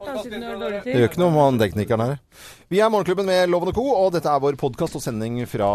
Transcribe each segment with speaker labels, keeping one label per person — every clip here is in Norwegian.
Speaker 1: Kanskje den har dårlig
Speaker 2: Det
Speaker 1: tid?
Speaker 2: gjør ikke noe om han teknikeren her. Vi er Morgenklubben med Loven og Co., og dette er vår podkast og sending fra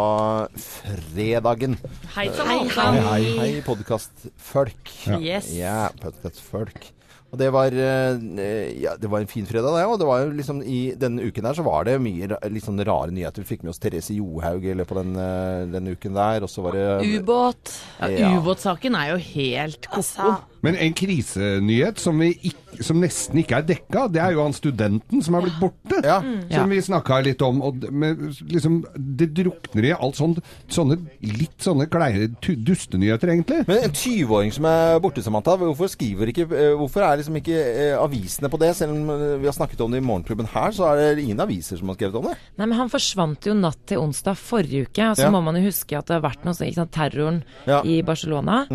Speaker 2: fredagen.
Speaker 1: Hei sann,
Speaker 3: Hei,
Speaker 1: alle
Speaker 2: Hei,
Speaker 1: sammen.
Speaker 2: hei, hei podkastfolk.
Speaker 1: Yes.
Speaker 2: Ja, podkastfolk. Og det var, eh, ja, det var en fin fredag, det. Og det var jo liksom i denne uken her så var det mye ra- litt sånn rare nyheter. Vi fikk med oss Therese Johaug i løpet av den, eh, den uken der. Og så var det
Speaker 3: Ubåt.
Speaker 1: Ja,
Speaker 2: Ja.
Speaker 1: Ubåtsaken er jo helt ko-ko.
Speaker 3: Altså,
Speaker 4: Men en krisenyhet som, vi ikk- som nesten ikke er dekka, det er jo han studenten som er blitt borte.
Speaker 2: Ja.
Speaker 1: Ja.
Speaker 4: Som vi snakka litt om. Og d- men liksom, det drukner i alt sånt, sånne litt sånne kleine tu- dustenyheter, egentlig.
Speaker 2: Men en 20-åring som er borte, Samantha. Hvorfor skriver ikke eh, Hvorfor er liksom ikke eh, avisene på det? Selv om eh, vi har snakket om det i Morgenklubben her, så er det ingen aviser som har skrevet om det.
Speaker 5: Nei, men Han forsvant jo natt til onsdag forrige uke. og Så
Speaker 2: Ja.
Speaker 5: må man jo huske at det har vært noe sånn, ikke sant, terroren
Speaker 2: Ja. Mm.
Speaker 5: i Barcelona.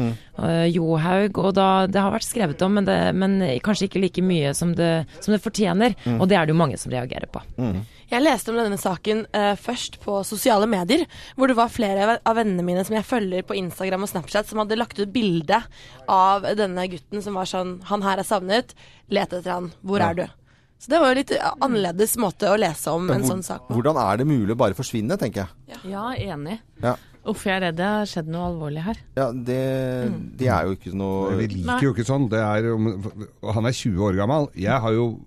Speaker 5: eh, Johaug. Og da, det har vært skrevet om, men, det, men kanskje ikke like mye som det, som det fortjener.
Speaker 2: Mm.
Speaker 5: Og det er det jo mange som reagerer på.
Speaker 3: jeg leste om denne saken eh, først på sosiale medier, hvor det var flere av- av vennene mine som jeg følger på Instagram og Snapchat, som hadde lagt ut bilde av denne gutten som var sånn Han her er savnet, let etter han, hvor er du? Så det var jo litt eh, annerledes måte å lese om en
Speaker 2: Hvor-
Speaker 3: sånn sak på.
Speaker 2: Hvordan er det mulig å bare forsvinne, tenker jeg.
Speaker 1: Ja, enig.
Speaker 2: Ja.
Speaker 1: Uff, jeg er redd det har skjedd noe alvorlig her.
Speaker 2: Ja, det,
Speaker 3: Mm.
Speaker 2: det er jo ikke
Speaker 4: Vi
Speaker 2: noe
Speaker 4: liker jo ikke sånn. Det er, jo- og han er 20 år gammel. Jeg har jo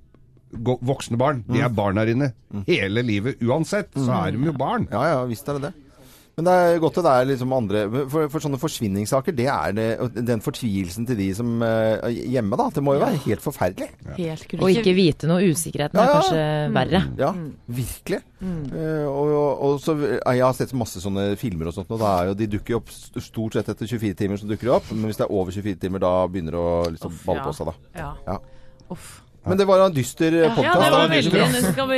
Speaker 4: gå- voksne barn. De er barn her inne. Hele livet. Uansett så er de jo barn.
Speaker 2: Ja ja, visst er det det. Men det er godt at det er liksom andre For, for sånne forsvinningssaker, det er det og Den fortvilelsen til de som eh, er hjemme, da. Det må jo være helt forferdelig.
Speaker 1: Helt
Speaker 5: Og
Speaker 1: grusomt.
Speaker 5: ikke vite noe. Usikkerheten er
Speaker 2: Ja, Mm. ja.
Speaker 5: kanskje verre.
Speaker 2: Ja,
Speaker 1: Mm.
Speaker 2: virkelig. Eh, og, og, og så eh, Jeg har sett masse sånne filmer og sånt, og da er jo, de dukker jo opp st- stort sett etter 24 timer. så dukker de opp, Men hvis det er over 24 timer, da begynner det å liksom
Speaker 1: Uff,
Speaker 2: balle
Speaker 1: ja.
Speaker 2: på seg. da.
Speaker 1: Ja.
Speaker 2: Ja.
Speaker 1: Uff.
Speaker 2: Men det var jo en dyster eh, podkast.
Speaker 1: Ja, det var veldig Nå skal vi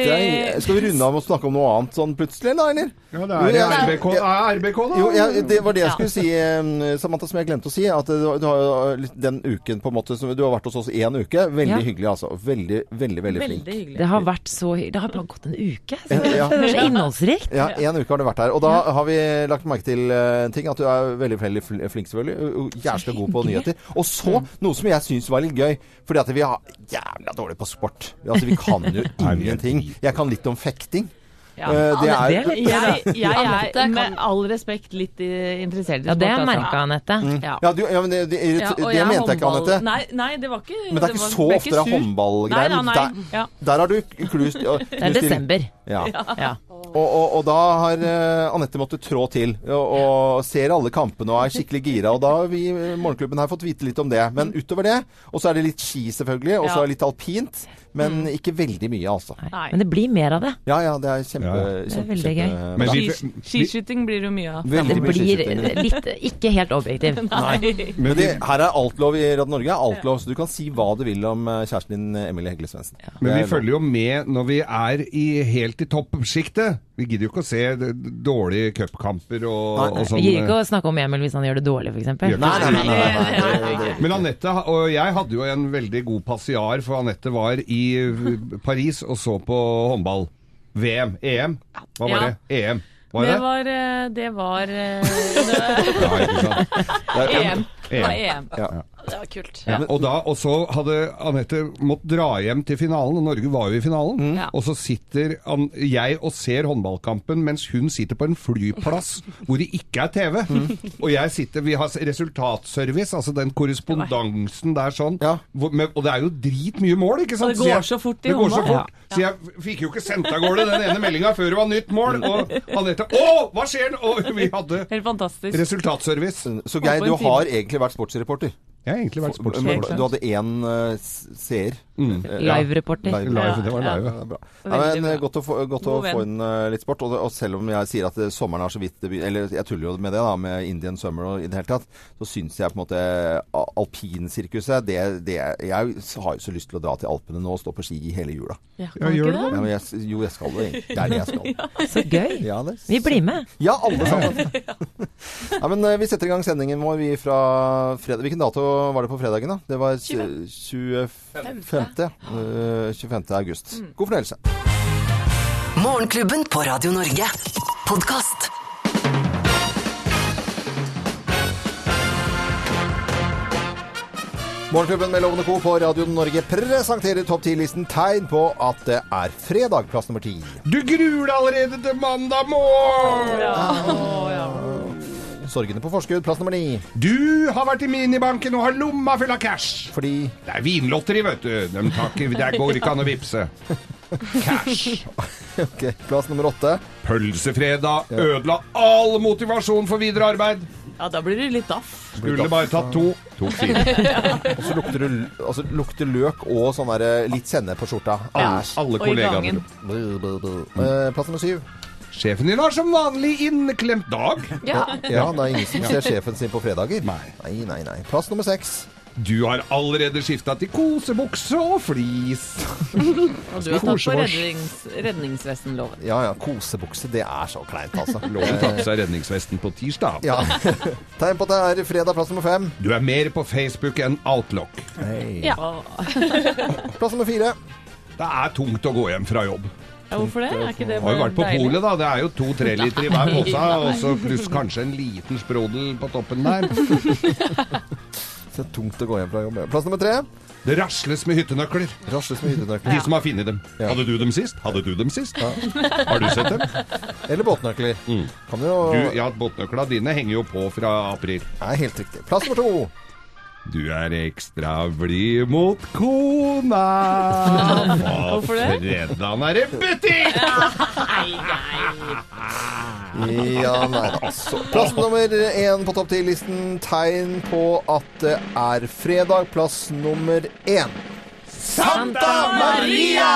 Speaker 2: Skal vi runde av med å snakke om noe annet sånn plutselig, da, eller?
Speaker 4: Ja,
Speaker 2: Jo,
Speaker 4: det er
Speaker 2: jeg-
Speaker 4: RBK, det er RBK da!
Speaker 2: Jo, jeg, det var det jeg
Speaker 1: Ja.
Speaker 2: skulle si, eh, Samantha, som jeg glemte å si. At eh, du, du har jo litt den uken på en måte som Du har vært hos oss én uke. Veldig
Speaker 5: Ja.
Speaker 2: hyggelig, altså. Veldig, veldig, veldig flink. Eh,
Speaker 1: Veldig hyggelig.
Speaker 5: Det har vært så hy- Det har bare gått en uke. Så
Speaker 2: Ja.
Speaker 5: det er så innholdsrikt.
Speaker 2: Ja, én uke har du vært her. Og da har vi lagt merke til eh, en ting. At du er veldig veldig fl- flink, selvfølgelig. og- og Jævlig god på nyheter. Og så noe som jeg syns var litt gøy. Fordi at vi er jævla dårlig på sport. Altså, vi kan jo ingenting. Jeg kan litt om fekting.
Speaker 1: Ja.
Speaker 2: Eh, det
Speaker 5: Ja,
Speaker 2: er
Speaker 5: det-
Speaker 1: Jeg, jeg er med all respekt litt eh, interessert i
Speaker 5: Ja,
Speaker 1: sport.
Speaker 5: det
Speaker 1: altså.
Speaker 5: merka Anette.
Speaker 1: Ja.
Speaker 2: Ja, du, ja men det, det, irrit-
Speaker 1: Ja, og
Speaker 2: det
Speaker 1: er
Speaker 2: mente jeg ikke,
Speaker 1: håndball-
Speaker 2: Anette.
Speaker 1: Nei, nei, det var ikke
Speaker 2: Men det er ikke så ofte det er håndballgreier.
Speaker 1: Nei,
Speaker 2: men
Speaker 1: nei,
Speaker 2: Der,
Speaker 1: nei. Ja.
Speaker 2: der har du klust
Speaker 5: Det er desember.
Speaker 2: Ja.
Speaker 5: Ja.
Speaker 2: Og, og, og da har eh, Anette måttet trå til og, og ser alle kampene og er skikkelig gira. Og da har vi i Morgenklubben her fått vite litt om det. Men utover det, og så er det litt ski selvfølgelig, og
Speaker 1: Ja.
Speaker 2: så er det litt alpint. Men
Speaker 4: Mm.
Speaker 2: ikke veldig mye, altså.
Speaker 1: Nei.
Speaker 5: Men det blir mer av det.
Speaker 2: Ja ja, det er kjempe...
Speaker 4: Ja,
Speaker 2: kjempe,
Speaker 5: veldig
Speaker 2: kjempe-
Speaker 4: Men vi-
Speaker 1: Skis- Skiskyting blir det jo mye av.
Speaker 2: Veldig
Speaker 5: Det
Speaker 2: mye
Speaker 5: blir
Speaker 2: skiskyting.
Speaker 5: litt Ikke helt objektiv.
Speaker 1: Nei.
Speaker 2: Men det, her er alt lov i Radio Norge. er Alt lov, så du kan si hva du vil om eh, kjæresten din, eh, Emilie Hegle Svendsen.
Speaker 4: Men vi følger jo med når vi er i, helt i toppsjiktet. Vi gidder jo ikke å se d- dårlige cupkamper og,
Speaker 2: Nei, nei.
Speaker 4: og
Speaker 5: Vi gidder ikke
Speaker 4: sånn.
Speaker 5: å snakke om Emil hvis han gjør det dårlig, f.eks.
Speaker 2: Nei,
Speaker 4: Gjør
Speaker 2: nei, nei. nei, nei, nei, nei, nei,
Speaker 4: Men Anette ha- og jeg hadde jo en veldig god passiar, for Anette var i eh, Paris og så på håndball. VM. EM. Hva var
Speaker 1: Ja.
Speaker 4: det? EM. Var
Speaker 1: Det
Speaker 4: det?
Speaker 1: var eh, Det var eh,
Speaker 4: Ja, ikke sant.
Speaker 2: Det er-
Speaker 1: EM. E Det var
Speaker 4: EM.
Speaker 1: EM.
Speaker 3: Det var kult.
Speaker 4: Ja, og, da, og så hadde Anette måttet dra hjem til finalen, og Norge var jo i finalen.
Speaker 1: Mm. Ja.
Speaker 4: Og så sitter an, jeg og ser håndballkampen mens hun sitter på en flyplass hvor det ikke er TV.
Speaker 1: Mm.
Speaker 4: Og jeg sitter Vi har s- resultatservice, altså den korrespondansen der sånn.
Speaker 2: Ja.
Speaker 4: Hvor, med, og det er jo dritmye mål, ikke sant?
Speaker 1: Og det går
Speaker 4: jeg-
Speaker 1: så fort i
Speaker 4: det går så
Speaker 1: håndball.
Speaker 4: fort. Så jeg f- fikk jo ikke sendt av gårde den ene meldinga før det var nytt
Speaker 1: Mm.
Speaker 4: mål. Og Anette Å, hva skjer nå?! Og vi hadde
Speaker 1: Helt fantastisk.
Speaker 4: resultatservice.
Speaker 2: Så Geir, du har egentlig vært sportsreporter.
Speaker 4: Jeg har egentlig vært
Speaker 2: Du
Speaker 4: sportsmann.
Speaker 2: hadde én eh, seer. Eh,
Speaker 5: Live-reporter.
Speaker 2: Mm. Live.
Speaker 4: Live, det var
Speaker 2: Ja,
Speaker 4: live.
Speaker 2: det er bra. Nei,
Speaker 1: Veldig
Speaker 2: men,
Speaker 1: bra.
Speaker 2: eh, godt å få, godt å
Speaker 1: God
Speaker 2: få
Speaker 1: venn.
Speaker 2: inn eh, litt sport. Og, og selv om jeg sier at eh, sommeren har så vidt det begyn- Eller jeg tuller jo med det, da, med Indian Summer og i det hele tatt. Så syns jeg på en måte a- alpinsirkuset det, det, Jeg har jo så lyst til å dra til Alpene nå og stå på ski i hele jula.
Speaker 1: Ja, kan
Speaker 4: Ja,
Speaker 1: ikke
Speaker 4: gjør du
Speaker 1: det?
Speaker 4: det?
Speaker 2: Ja, men jeg, s- jo, jeg skal det. egentlig. Det er det jeg skal.
Speaker 5: Så gøy.
Speaker 2: Ja, det.
Speaker 5: Vi blir med.
Speaker 2: Ja, alle sammen. Ja, men eh, Vi setter i gang sendingen vår vi fra fredag. Hvilken dato var det på fredagen? da? Det var s- 25. 25. eh, 25. august. God fornøyelse.
Speaker 6: Morgenklubben på Radio Norge. Podkast.
Speaker 2: Morgenklubben med Lovende Co. på Radio Norge presenterer topp 10-listen tegn på at det er fredag. Plass nummer ti.
Speaker 4: Du gruer deg allerede til mandag morgen!
Speaker 2: Sorgene på forskudd. Plass nummer ni.
Speaker 4: Du har vært i minibanken og har lomma full av cash.
Speaker 2: Fordi
Speaker 4: Det er vinlotteri, vet du. De tar ikke, der går ikke an å vippse. Cash.
Speaker 2: Ok, Plass nummer åtte.
Speaker 4: Pølsefredag ødela all motivasjon for videre arbeid.
Speaker 1: Ja, da blir det litt daff.
Speaker 4: Skulle bare tatt to. Tok fire.
Speaker 2: Og så lukter det altså, lukter løk og sånn der, eh, litt sennep på skjorta. Æsj.
Speaker 4: Alle
Speaker 1: Og i
Speaker 4: kollegaene.
Speaker 1: gangen.
Speaker 2: Blah, blah, blah. Eh, Plass nummer syv.
Speaker 4: Sjefen din har som vanlig inneklemt dag.
Speaker 2: Ja, det er ingen som ser sjefen sin på fredager. Nei, nei, nei. Plass nummer seks.
Speaker 4: Du har allerede skifta til kosebukse og flis.
Speaker 1: Og du har tatt på
Speaker 4: Kosevors.
Speaker 1: rednings, redningsvestenloven.
Speaker 2: Ja ja, kosebukse. Det er så kleint, altså.
Speaker 4: Lå og tatt på seg redningsvesten på tirsdag.
Speaker 2: Ja. Tegn på at det er fredag. Plass nummer fem.
Speaker 4: Du er mer på Facebook enn Outlook.
Speaker 2: Plass nummer fire.
Speaker 4: Det er tungt å gå hjem fra jobb.
Speaker 1: Ja, hvorfor det? Er ikke det
Speaker 4: Har jo
Speaker 1: bare
Speaker 4: vært på
Speaker 1: deilig?
Speaker 4: polet, da. Det er jo to-tre liter i hver pose, og så pluss kanskje en liten sprodel på toppen der.
Speaker 2: Så tungt å gå hjem fra jobb. Plass nummer tre.
Speaker 4: Det rasles med hyttenøkler.
Speaker 2: Rasles med hyttenøkler.
Speaker 4: De som har funnet dem.
Speaker 2: Ja.
Speaker 4: Hadde du dem sist? Hadde du dem sist? Har du sett dem?
Speaker 2: Eller båtnøkler. Kan Mm. du jo
Speaker 4: Du, ja, båtnøkla dine henger jo på fra april.
Speaker 2: Nei, helt riktig. Plass nummer to.
Speaker 4: Du er ekstra blid mot kona. På
Speaker 1: Hvorfor det?
Speaker 4: fredagen er det butikk!
Speaker 2: Ja, nei da. Så, Altså, Plass nummer én på topp ti-listen. Tegn på at det er fredag. Plass nummer én.
Speaker 4: Santa Maria!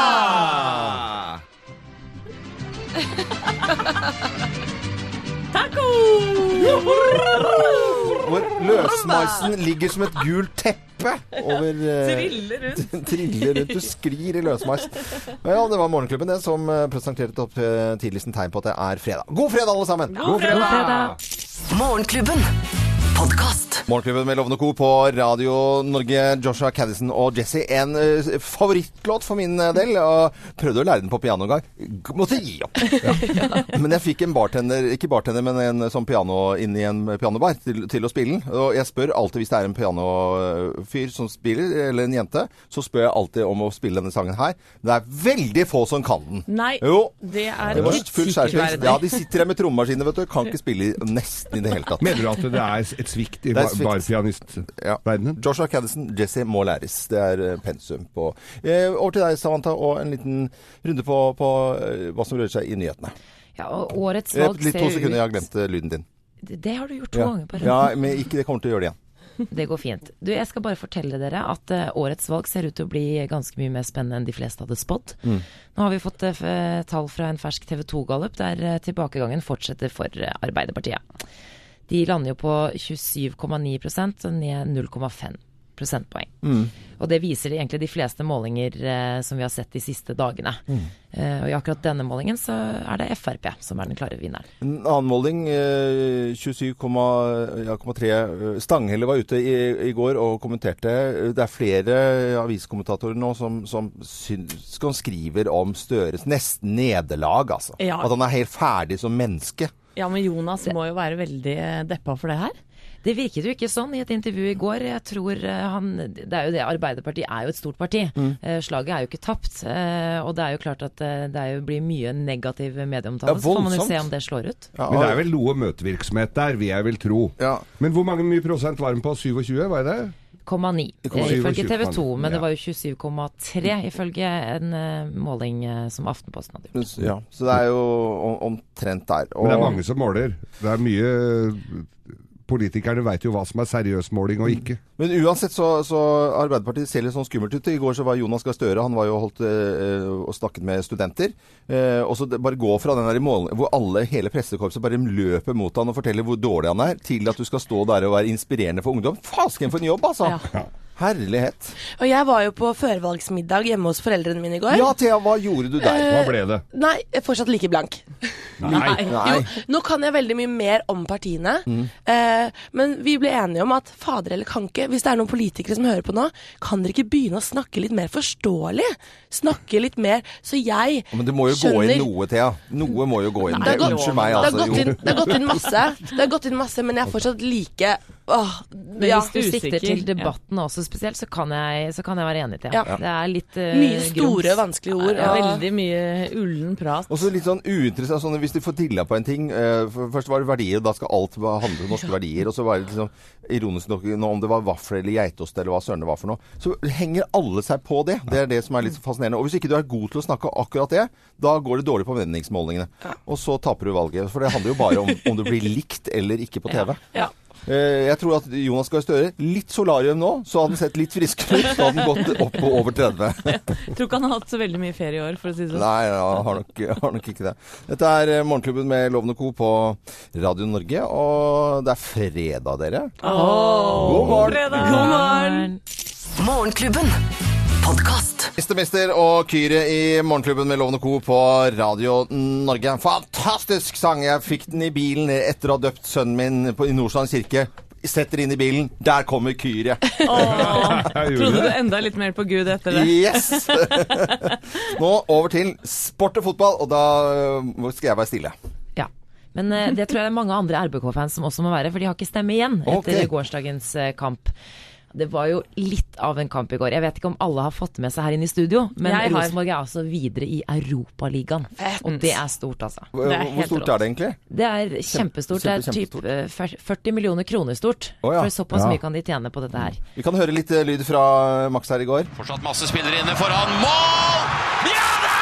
Speaker 2: Hvor løsmeisen ligger som et gult teppe over eh,
Speaker 1: Triller rundt.
Speaker 2: Triller rundt. Du sklir i løsmeis. Ja, det var Morgenklubben det som eh, presenterte topp eh, ti-listen tegn på at det er fredag. God fredag, alle sammen!
Speaker 4: God fredag!
Speaker 6: Morgenklubben. Podkast.
Speaker 2: Morgenklubben med Lovende Co. på Radio Norge. Joshua Caddison og Jesse. En eh, favorittlåt for min eh, del. Og prøvde å lære den på piano en gang. G- Måtte gi opp. Men jeg fikk en bartender, ikke bartender, men en sånn piano inni en eh, pianobar til, til å spille den. Og jeg spør alltid hvis det er en pianofyr som spiller, eller en jente, så spør jeg alltid om å spille denne sangen her. Det er veldig få som kan den.
Speaker 1: Nei,
Speaker 2: Jo.
Speaker 1: det er
Speaker 2: Det var full skjerpings.
Speaker 1: kritikkverdig.
Speaker 2: Ja, de sitter her med trommemaskiner, vet du. Kan ikke spille nesten i det hele tatt.
Speaker 4: Mener du at det er et svikt i
Speaker 2: er svikt.
Speaker 4: bar- barpianistverdenen?
Speaker 2: Joshua Caddison, Jesse må læres. Det er eh, pensum på eh, Over til deg, Samantha, og en liten runde på, på eh, hva som rører seg i nyhetene.
Speaker 5: Ja, og årets
Speaker 2: Eh,
Speaker 5: valg
Speaker 2: Litt to
Speaker 5: ser
Speaker 2: sekunder, jeg har
Speaker 5: ut-
Speaker 2: glemt eh, lyden din.
Speaker 5: Det har du gjort to
Speaker 2: Ja.
Speaker 5: ganger på rad.
Speaker 2: ja, men ikke det kommer til å gjøre det igjen.
Speaker 5: Det går fint. Du, jeg skal bare fortelle dere at eh, årets valg ser ut til å bli ganske mye mer spennende enn de fleste hadde spådd. Nå har vi fått eh, f- tall fra en fersk TV 2-gallup der eh, tilbakegangen fortsetter for eh, Arbeiderpartiet. De lander jo på 27,9 og ned 0,5 prosentpoeng. Og det viser egentlig de fleste målinger eh, som vi har sett de siste dagene. Eh, og i akkurat denne målingen så er det Frp som er den klare vinneren.
Speaker 2: En annen måling, eh, 27,3 ja, eh, Stanghelle var ute i, i går og kommenterte. eh, Det er flere aviskommentatorer nå som, som, syns, som skriver om Støres nesten nederlag, altså.
Speaker 1: Ja.
Speaker 2: At han er helt ferdig som menneske.
Speaker 1: Ja, men Jonas må jo være veldig eh, deppa for det her.
Speaker 5: Det virket jo ikke sånn i et intervju i går. Jeg tror eh, han, det er jo det, Arbeiderpartiet er jo et stort parti. Eh, Slaget er jo ikke tapt. eh, Og det er jo klart at eh, det er jo blir mye negativ medieomtale.
Speaker 2: Ja,
Speaker 5: så får man jo
Speaker 2: voldsomt.
Speaker 5: se om det slår ut.
Speaker 2: Ja,
Speaker 4: Men det er vel noe møtevirksomhet der, vil jeg vel tro.
Speaker 2: Ja.
Speaker 4: Men hvor mange mye prosent var den på? 27, var det det?
Speaker 5: 0,9 eh,
Speaker 4: 27,9,
Speaker 5: ifølge TV 2, men
Speaker 4: ja.
Speaker 5: det var jo 27,3 ifølge en eh, måling eh, som Aftenposten hadde gjort.
Speaker 2: Ja, så det er jo om- omtrent der. Og,
Speaker 4: Men det er mange som måler. Det er mye Politikerne veit jo hva som er seriøs måling og ikke.
Speaker 2: men uansett så, så Arbeiderpartiet ser litt sånn skummelt ut. I går så var Jonas Gahr Støre, han var jo holdt eh, og snakket med studenter. Eh, og så det- bare gå fra den der i mål, hvor alle, hele pressekorpset bare løper mot han og forteller hvor dårlig han er, til at du skal stå der og være inspirerende for ungdom. Fasken for en jobb, altså! Herlighet.
Speaker 3: Og jeg var jo på førvalgsmiddag hjemme hos foreldrene mine i går.
Speaker 2: Ja, Thea, hva gjorde du der?
Speaker 3: Eh,
Speaker 4: Hva ble det?
Speaker 3: Nei, jeg er fortsatt like blank.
Speaker 4: Nei.
Speaker 2: Nei.
Speaker 3: Jo, nå kan jeg veldig mye mer om partiene,
Speaker 2: Mm.
Speaker 3: eh, men vi ble enige om at fader eller kanke, hvis det er noen politikere som hører på nå, kan dere ikke begynne å snakke litt mer forståelig? Snakke litt mer, så jeg
Speaker 2: Men det må jo gå
Speaker 3: skjønner-
Speaker 2: inn noe, Thea. Noe må jo gå inn.
Speaker 3: Nei, det er godt-
Speaker 2: Unnskyld meg,
Speaker 3: det har,
Speaker 2: altså.
Speaker 3: gått
Speaker 2: Jo.
Speaker 3: inn, det har gått inn masse, det har gått inn masse, men jeg er fortsatt like Åh,
Speaker 5: Men
Speaker 3: ja.
Speaker 5: hvis du
Speaker 1: usikker.
Speaker 5: sikter til debatten også spesielt, så kan jeg, så kan jeg være enig til
Speaker 3: Ja.
Speaker 5: deg. Det er litt eh,
Speaker 3: Mye store,
Speaker 5: grums.
Speaker 3: vanskelige ord.
Speaker 1: Det er
Speaker 3: og-
Speaker 1: veldig mye ullen prat.
Speaker 2: Og så litt sånn uinteressant sånn, Hvis du får dilla på en ting eh, for- Først var det verdier, da skal alt va- handle om norske verdier. Og så var det liksom ironisk nok nå om det var vaffel eller geitost eller hva søren det var for noe. Så henger alle seg på det. Det er det som er litt fascinerende. Og hvis ikke du er god til å snakke akkurat det, da går det dårlig på meningsmålingene. Og så taper du valget. For det handler jo bare om om du blir likt eller ikke på TV.
Speaker 3: Ja.
Speaker 2: Eh, Jeg tror at Jonas Gahr Støre Litt solarium nå, så hadde han sett litt friskere ut. Da hadde han gått opp på over 30.
Speaker 1: Jeg tror ikke han har hatt så veldig mye ferie i år, for å si det sånn.
Speaker 2: Nei, ja, har nok, har nok ikke det. Dette er eh, Morgenklubben med Lovende Co. på Radio Norge, og det er fredag, dere. God morgen!
Speaker 1: God morgen!
Speaker 6: Morgenklubben. Podkast.
Speaker 2: Mestermester og Kyre i Morgenklubben med Lovende Co. på Radio Norge. En fantastisk sang! Jeg fikk den i bilen etter å ha døpt sønnen min på, i Nordstrand kirke. Setter inn i bilen, der kommer Kyre!
Speaker 4: Jeg gjorde
Speaker 1: Trodde du
Speaker 4: det.
Speaker 1: enda litt mer på Gud etter det?
Speaker 2: Yes! Nå over til sport og fotball, og da eh, skal jeg være stille.
Speaker 5: Ja. Men eh, det tror jeg det er mange andre RBK-fans som også må være, for de har ikke stemme igjen etter
Speaker 2: Ok.
Speaker 5: gårsdagens eh, kamp. Det var jo litt av en kamp i går. Jeg vet ikke om alle har fått med seg her inne i studio, men
Speaker 1: Jeg har.
Speaker 5: Rosenborg er altså videre i Europaligaen. Og det er stort, altså.
Speaker 1: er
Speaker 2: Hvor
Speaker 1: helt
Speaker 2: stort
Speaker 1: rått.
Speaker 2: er det egentlig?
Speaker 5: Det er kjempestort. Det er
Speaker 2: kjempe-
Speaker 5: typ eh, fyr- 40 millioner kroner stort.
Speaker 2: Å ja.
Speaker 5: For såpass
Speaker 2: Ja.
Speaker 5: mye kan de tjene på dette her.
Speaker 2: Vi kan høre litt eh, lyd fra Max her i går.
Speaker 7: Fortsatt masse spillere inne foran mål! Ja da!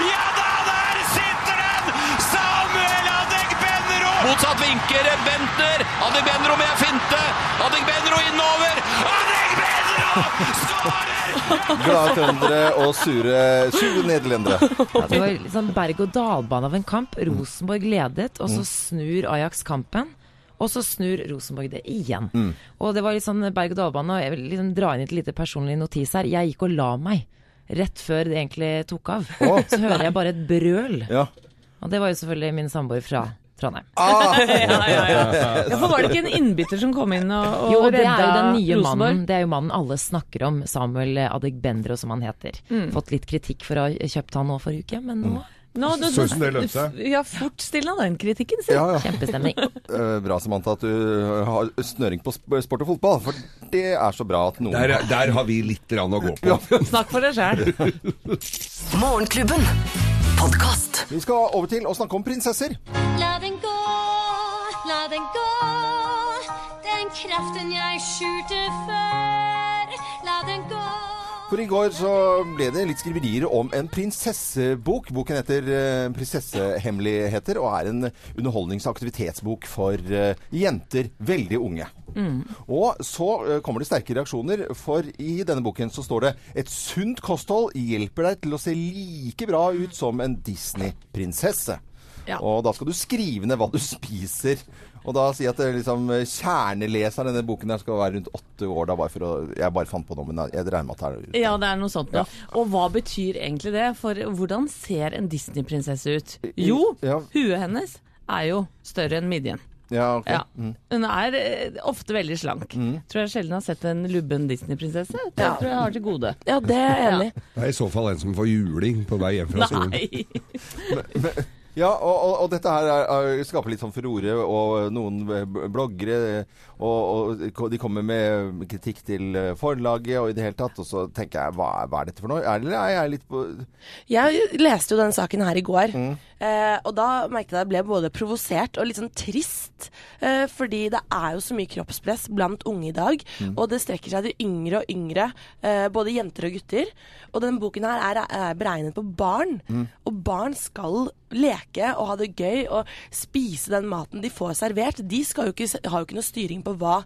Speaker 7: Ja da, der sitter den! Samuel Adek Benro! Motsatt vinker, Bentner. Adek Benro med finte. Adek Benro innover. Adek Benro skårer!
Speaker 2: Glade trøndere og sure, sure nederlendere.
Speaker 5: Ja, det var litt sånn berg-og-dal-bane av en kamp. Rosenborg ledet, og så snur Ajax kampen. Og så snur Rosenborg det igjen. Og det var litt sånn berg-og-dal-bane. Og jeg vil liksom dra inn et lite personlig notis her. Jeg gikk og la meg. Rett før det egentlig tok av.
Speaker 2: Å.
Speaker 5: Så hører jeg bare et brøl.
Speaker 2: Ja.
Speaker 5: Og det var jo selvfølgelig min samboer fra Trondheim.
Speaker 1: Ja, ja, ja. ja, for var det ikke en innbytter som kom inn og, og
Speaker 5: Jo, det
Speaker 1: redda
Speaker 5: er jo den nye mannen
Speaker 1: Rosenborg?
Speaker 5: Det er jo mannen alle snakker om. Samuel Adegbendro, som han heter. Fått litt kritikk for å ha kjøpt han nå forrige uke, men nå
Speaker 1: Nå, nå-
Speaker 4: Så ut som det lønte seg.
Speaker 1: Ja, fort stille av den kritikken sin.
Speaker 2: Ja, ja.
Speaker 5: kjempestemning.
Speaker 2: Eh, Bra, Samantha, at du eh, har snøring på sp- sport og fotball. For det er så bra at noen
Speaker 4: Der, er- der har vi litt grann å gå på.
Speaker 1: Snakk for deg sjæl.
Speaker 6: Morgenklubben. Podkast.
Speaker 2: Vi skal over til å snakke om prinsesser.
Speaker 8: La den gå, la den gå. Den kraften jeg skjulte før. La den gå.
Speaker 2: For i går så ble det litt skriverier om en prinsessebok. Boken heter eh, 'Prinsessehemmeligheter' og er en underholdnings- og aktivitetsbok for eh, jenter, veldig unge. Og så eh, kommer det sterke reaksjoner, for i denne boken så står det 'Et sunt kosthold hjelper deg til å se like bra ut som en Disney-prinsesse'. Og da skal du skrive ned hva du spiser. Og da sier jeg at eh, liksom, eh, kjerneleseren i denne boken her skal være rundt åtte år. Da, bare for å, jeg bare fant på noe, men jeg regner med at det er
Speaker 1: Ja, det er noe sånt noe. Og hva betyr egentlig det? For hvordan ser en Disney-prinsesse ut? Jo,
Speaker 2: Ja.
Speaker 1: huet hennes er jo større enn midjen.
Speaker 2: Ja, ok.
Speaker 1: Ja. Hun er eh, ofte veldig slank. Tror jeg sjelden har sett en lubben Disney-prinsesse. Det tror jeg har til gode.
Speaker 3: ja, det er jeg enig i.
Speaker 4: Det er i så fall en som får juling på vei hjem fra skolen.
Speaker 1: Nei!
Speaker 2: Ja, og, og, og dette her er, er, skaper litt sånn furore, og noen b- bloggere og, og de kommer med kritikk til eh, forlaget og i det hele tatt. Og så tenker jeg, hva, er- hva er dette for noe? Eller er jeg litt på
Speaker 3: Jeg leste jo den saken her i går, eh, og da merket jeg at jeg ble både provosert og litt sånn trist. Eh, fordi det er jo så mye kroppspress blant unge i dag, og det strekker seg til yngre og yngre. Eh, både jenter og gutter. Og denne boken her er, er beregnet på barn, og barn skal leke og ha det gøy og spise den maten de får servert. De skal jo ikke, s- har jo ikke noe styring på hva,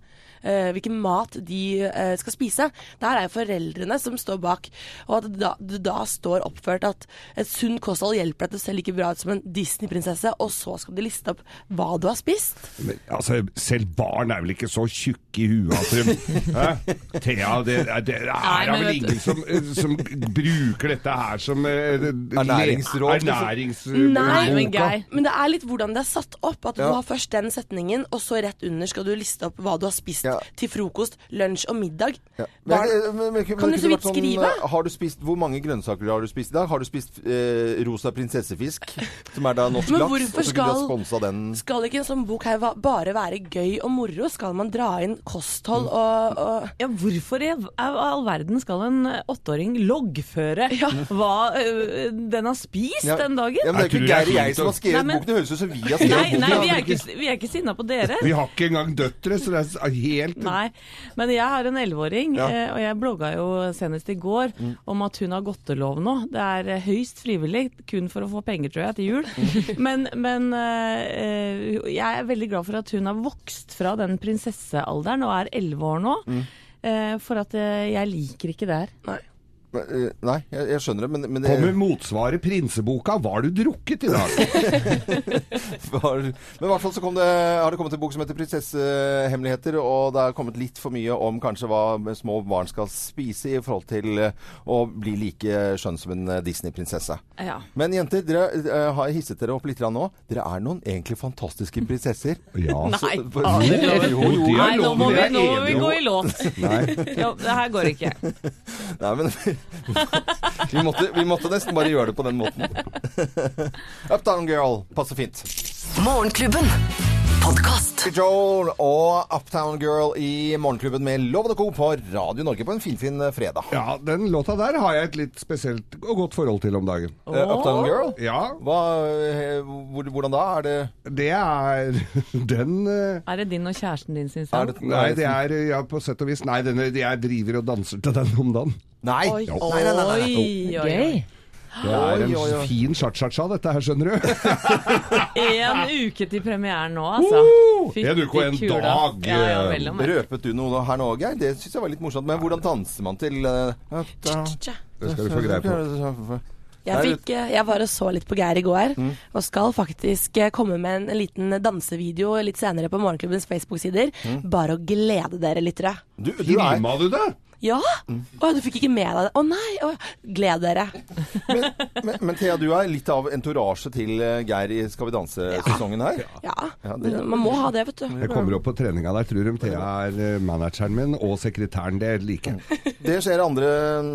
Speaker 3: eh, hvilken mat de eh, skal spise. Det her er jo foreldrene som står bak. Og at det da, det da står oppført at et sunt kosthold hjelper deg til å se like bra ut som en Disney-prinsesse, og så skal de liste opp hva du har spist.
Speaker 4: Men, altså, selv barn er vel ikke så tjukke i huet at de Hæ? Thea, det, er- det er
Speaker 1: Nei, men
Speaker 4: vel
Speaker 1: vet du-
Speaker 4: ingen som, som bruker dette her som eh, le-
Speaker 2: Ernæringsråd, liksom?
Speaker 4: Ernærings...
Speaker 3: Nei,
Speaker 1: Nei, men
Speaker 2: boka.
Speaker 1: Geir.
Speaker 3: Men det er litt hvordan det er satt opp. At
Speaker 2: Ja.
Speaker 3: du har først den setningen, og så rett under skal du liste opp hva du har spist
Speaker 2: Ja.
Speaker 3: til frokost, lunsj og middag.
Speaker 2: Ja. Men, eh,
Speaker 3: Var,
Speaker 2: men- men- men-
Speaker 3: Kan
Speaker 2: men-
Speaker 3: du så
Speaker 2: kunne
Speaker 3: vidt
Speaker 2: vært
Speaker 3: skrive?
Speaker 2: eh, Har du spist, hvor mange grønnsaker har du spist i dag? Har du spist eh, rosa prinsessefisk, som er da norsk
Speaker 3: Men
Speaker 2: laks?
Speaker 3: hvorfor
Speaker 2: Og så kunne du ha
Speaker 3: skal-
Speaker 2: sponsa den.
Speaker 3: skal ikke en sånn bok her va- bare være gøy og moro? Skal man dra inn kosthold
Speaker 2: Mm.
Speaker 3: og, og
Speaker 1: Ja, hvorfor i all- all verden skal en eh, åtteåring loggføre hva eh, den har spist
Speaker 2: Ja.
Speaker 1: den dagen?
Speaker 2: Ja, men det er jo ikke
Speaker 4: Jeg tror det er
Speaker 2: Geir og jeg
Speaker 4: fint
Speaker 2: som
Speaker 4: å-
Speaker 2: har skrevet
Speaker 1: Nei, men-
Speaker 2: boken. Det høres ut som vi har skrevet
Speaker 1: Nei,
Speaker 2: boken.
Speaker 1: nei, vi er ikke, vi er ikke sinna på dere.
Speaker 4: Vi har ikke engang døtre, så det er helt
Speaker 1: Nei, men jeg har en 11-åring,
Speaker 2: Ja.
Speaker 1: eh, og jeg blogga jo senest i går om at hun har godtelov nå. Det er eh, høyst frivillig, kun for å få penger, tror jeg, til jul. Men, men eh, eh, jeg er veldig glad for at hun har vokst fra den prinsessealderen og er 11 år nå. eh, For at eh, jeg liker ikke det her.
Speaker 3: Nei.
Speaker 2: Men, eh, Nei, jeg, jeg skjønner det, men, men eh, det,
Speaker 4: Kommer motsvaret prinseboka 'Var du drukket i dag?'
Speaker 2: var, Men i hvert fall så kom det, har det kommet en bok som heter 'Prinsessehemmeligheter', og det har kommet litt for mye om kanskje hva små barn skal spise i forhold til eh, å bli like skjønn som en eh, Disney-prinsesse.
Speaker 1: Ja.
Speaker 2: Men jenter, dere eh, har hisset dere opp litt grann nå. Dere er noen egentlig fantastiske prinsesser.
Speaker 4: Ja.
Speaker 1: Nei,
Speaker 2: Så-
Speaker 1: fader, loven.
Speaker 2: Jo, jo,
Speaker 4: Jo,
Speaker 2: jo.
Speaker 4: det
Speaker 1: Nei,
Speaker 4: er
Speaker 1: nå
Speaker 4: lov.
Speaker 1: må
Speaker 4: Det
Speaker 1: vi,
Speaker 4: er
Speaker 1: nå må vi
Speaker 4: evig
Speaker 1: gå
Speaker 4: lov.
Speaker 1: i låt.
Speaker 4: Nei.
Speaker 1: Ja, det her går ikke.
Speaker 2: Nei, men vi måtte, vi måtte nesten bare gjøre det på den måten. Uptown Girl passer fint.
Speaker 6: Morgenklubben. Podkast.
Speaker 2: Joel og Uptown Girl i Morgenklubben med Loven og Co. på Radio Norge på en finfin fin eh, fredag.
Speaker 4: Ja, den låta der har jeg et litt spesielt og godt forhold til om dagen.
Speaker 2: Eh, Uptown Girl?
Speaker 4: Ja,
Speaker 2: Hva, eh, hvor, hvordan da? Er det
Speaker 4: det er den eh,
Speaker 1: Er det din og kjæresten din sin
Speaker 2: er
Speaker 1: sang?
Speaker 2: det-
Speaker 4: Nei, det er eh, ja, på sett og vis Nei, denne, jeg driver og danser til den om dagen.
Speaker 2: Nei!
Speaker 3: Oi.
Speaker 2: Jo. nei, nei, nei, nei.
Speaker 1: Oi, oi, oi.
Speaker 5: Gøy.
Speaker 4: Det er
Speaker 2: Oi, oi, oi.
Speaker 4: en fin cha-cha-cha, dette her, skjønner du.
Speaker 1: En uke til premieren nå, altså.
Speaker 4: Woo!
Speaker 1: Fytti
Speaker 4: En uke og en
Speaker 1: kula.
Speaker 4: dag.
Speaker 1: Ja, ja, vel og merke.
Speaker 2: Røpet du noe her nå, Geir? Det syns jeg var litt morsomt. Men hvordan danser man til eh, Uptown
Speaker 3: Tja.
Speaker 4: Det skal du få greie på.
Speaker 2: Nei, Mm.
Speaker 3: Jeg, fikk, eh, jeg var og så litt på Geir i går, og skal faktisk eh, komme med en liten dansevideo litt senere på Morgenklubbens Facebook-sider.
Speaker 2: Mm.
Speaker 3: Bare å glede dere, lyttere.
Speaker 2: Du, du er
Speaker 4: Filma du det?
Speaker 3: Ja!
Speaker 2: Mm.
Speaker 3: Å, du fikk ikke med deg det. Å nei! Å, gled dere.
Speaker 2: Men, men Thea, du er litt av entorasje til eh, Geir i Skal vi danse-sesongen her.
Speaker 3: Ja.
Speaker 2: Ja, det-
Speaker 3: Man må ha det, vet du.
Speaker 4: Jeg kommer opp på treninga der, tror de Thea er eh, manageren min og sekretæren. Det liker jeg.
Speaker 2: Det skjer 2.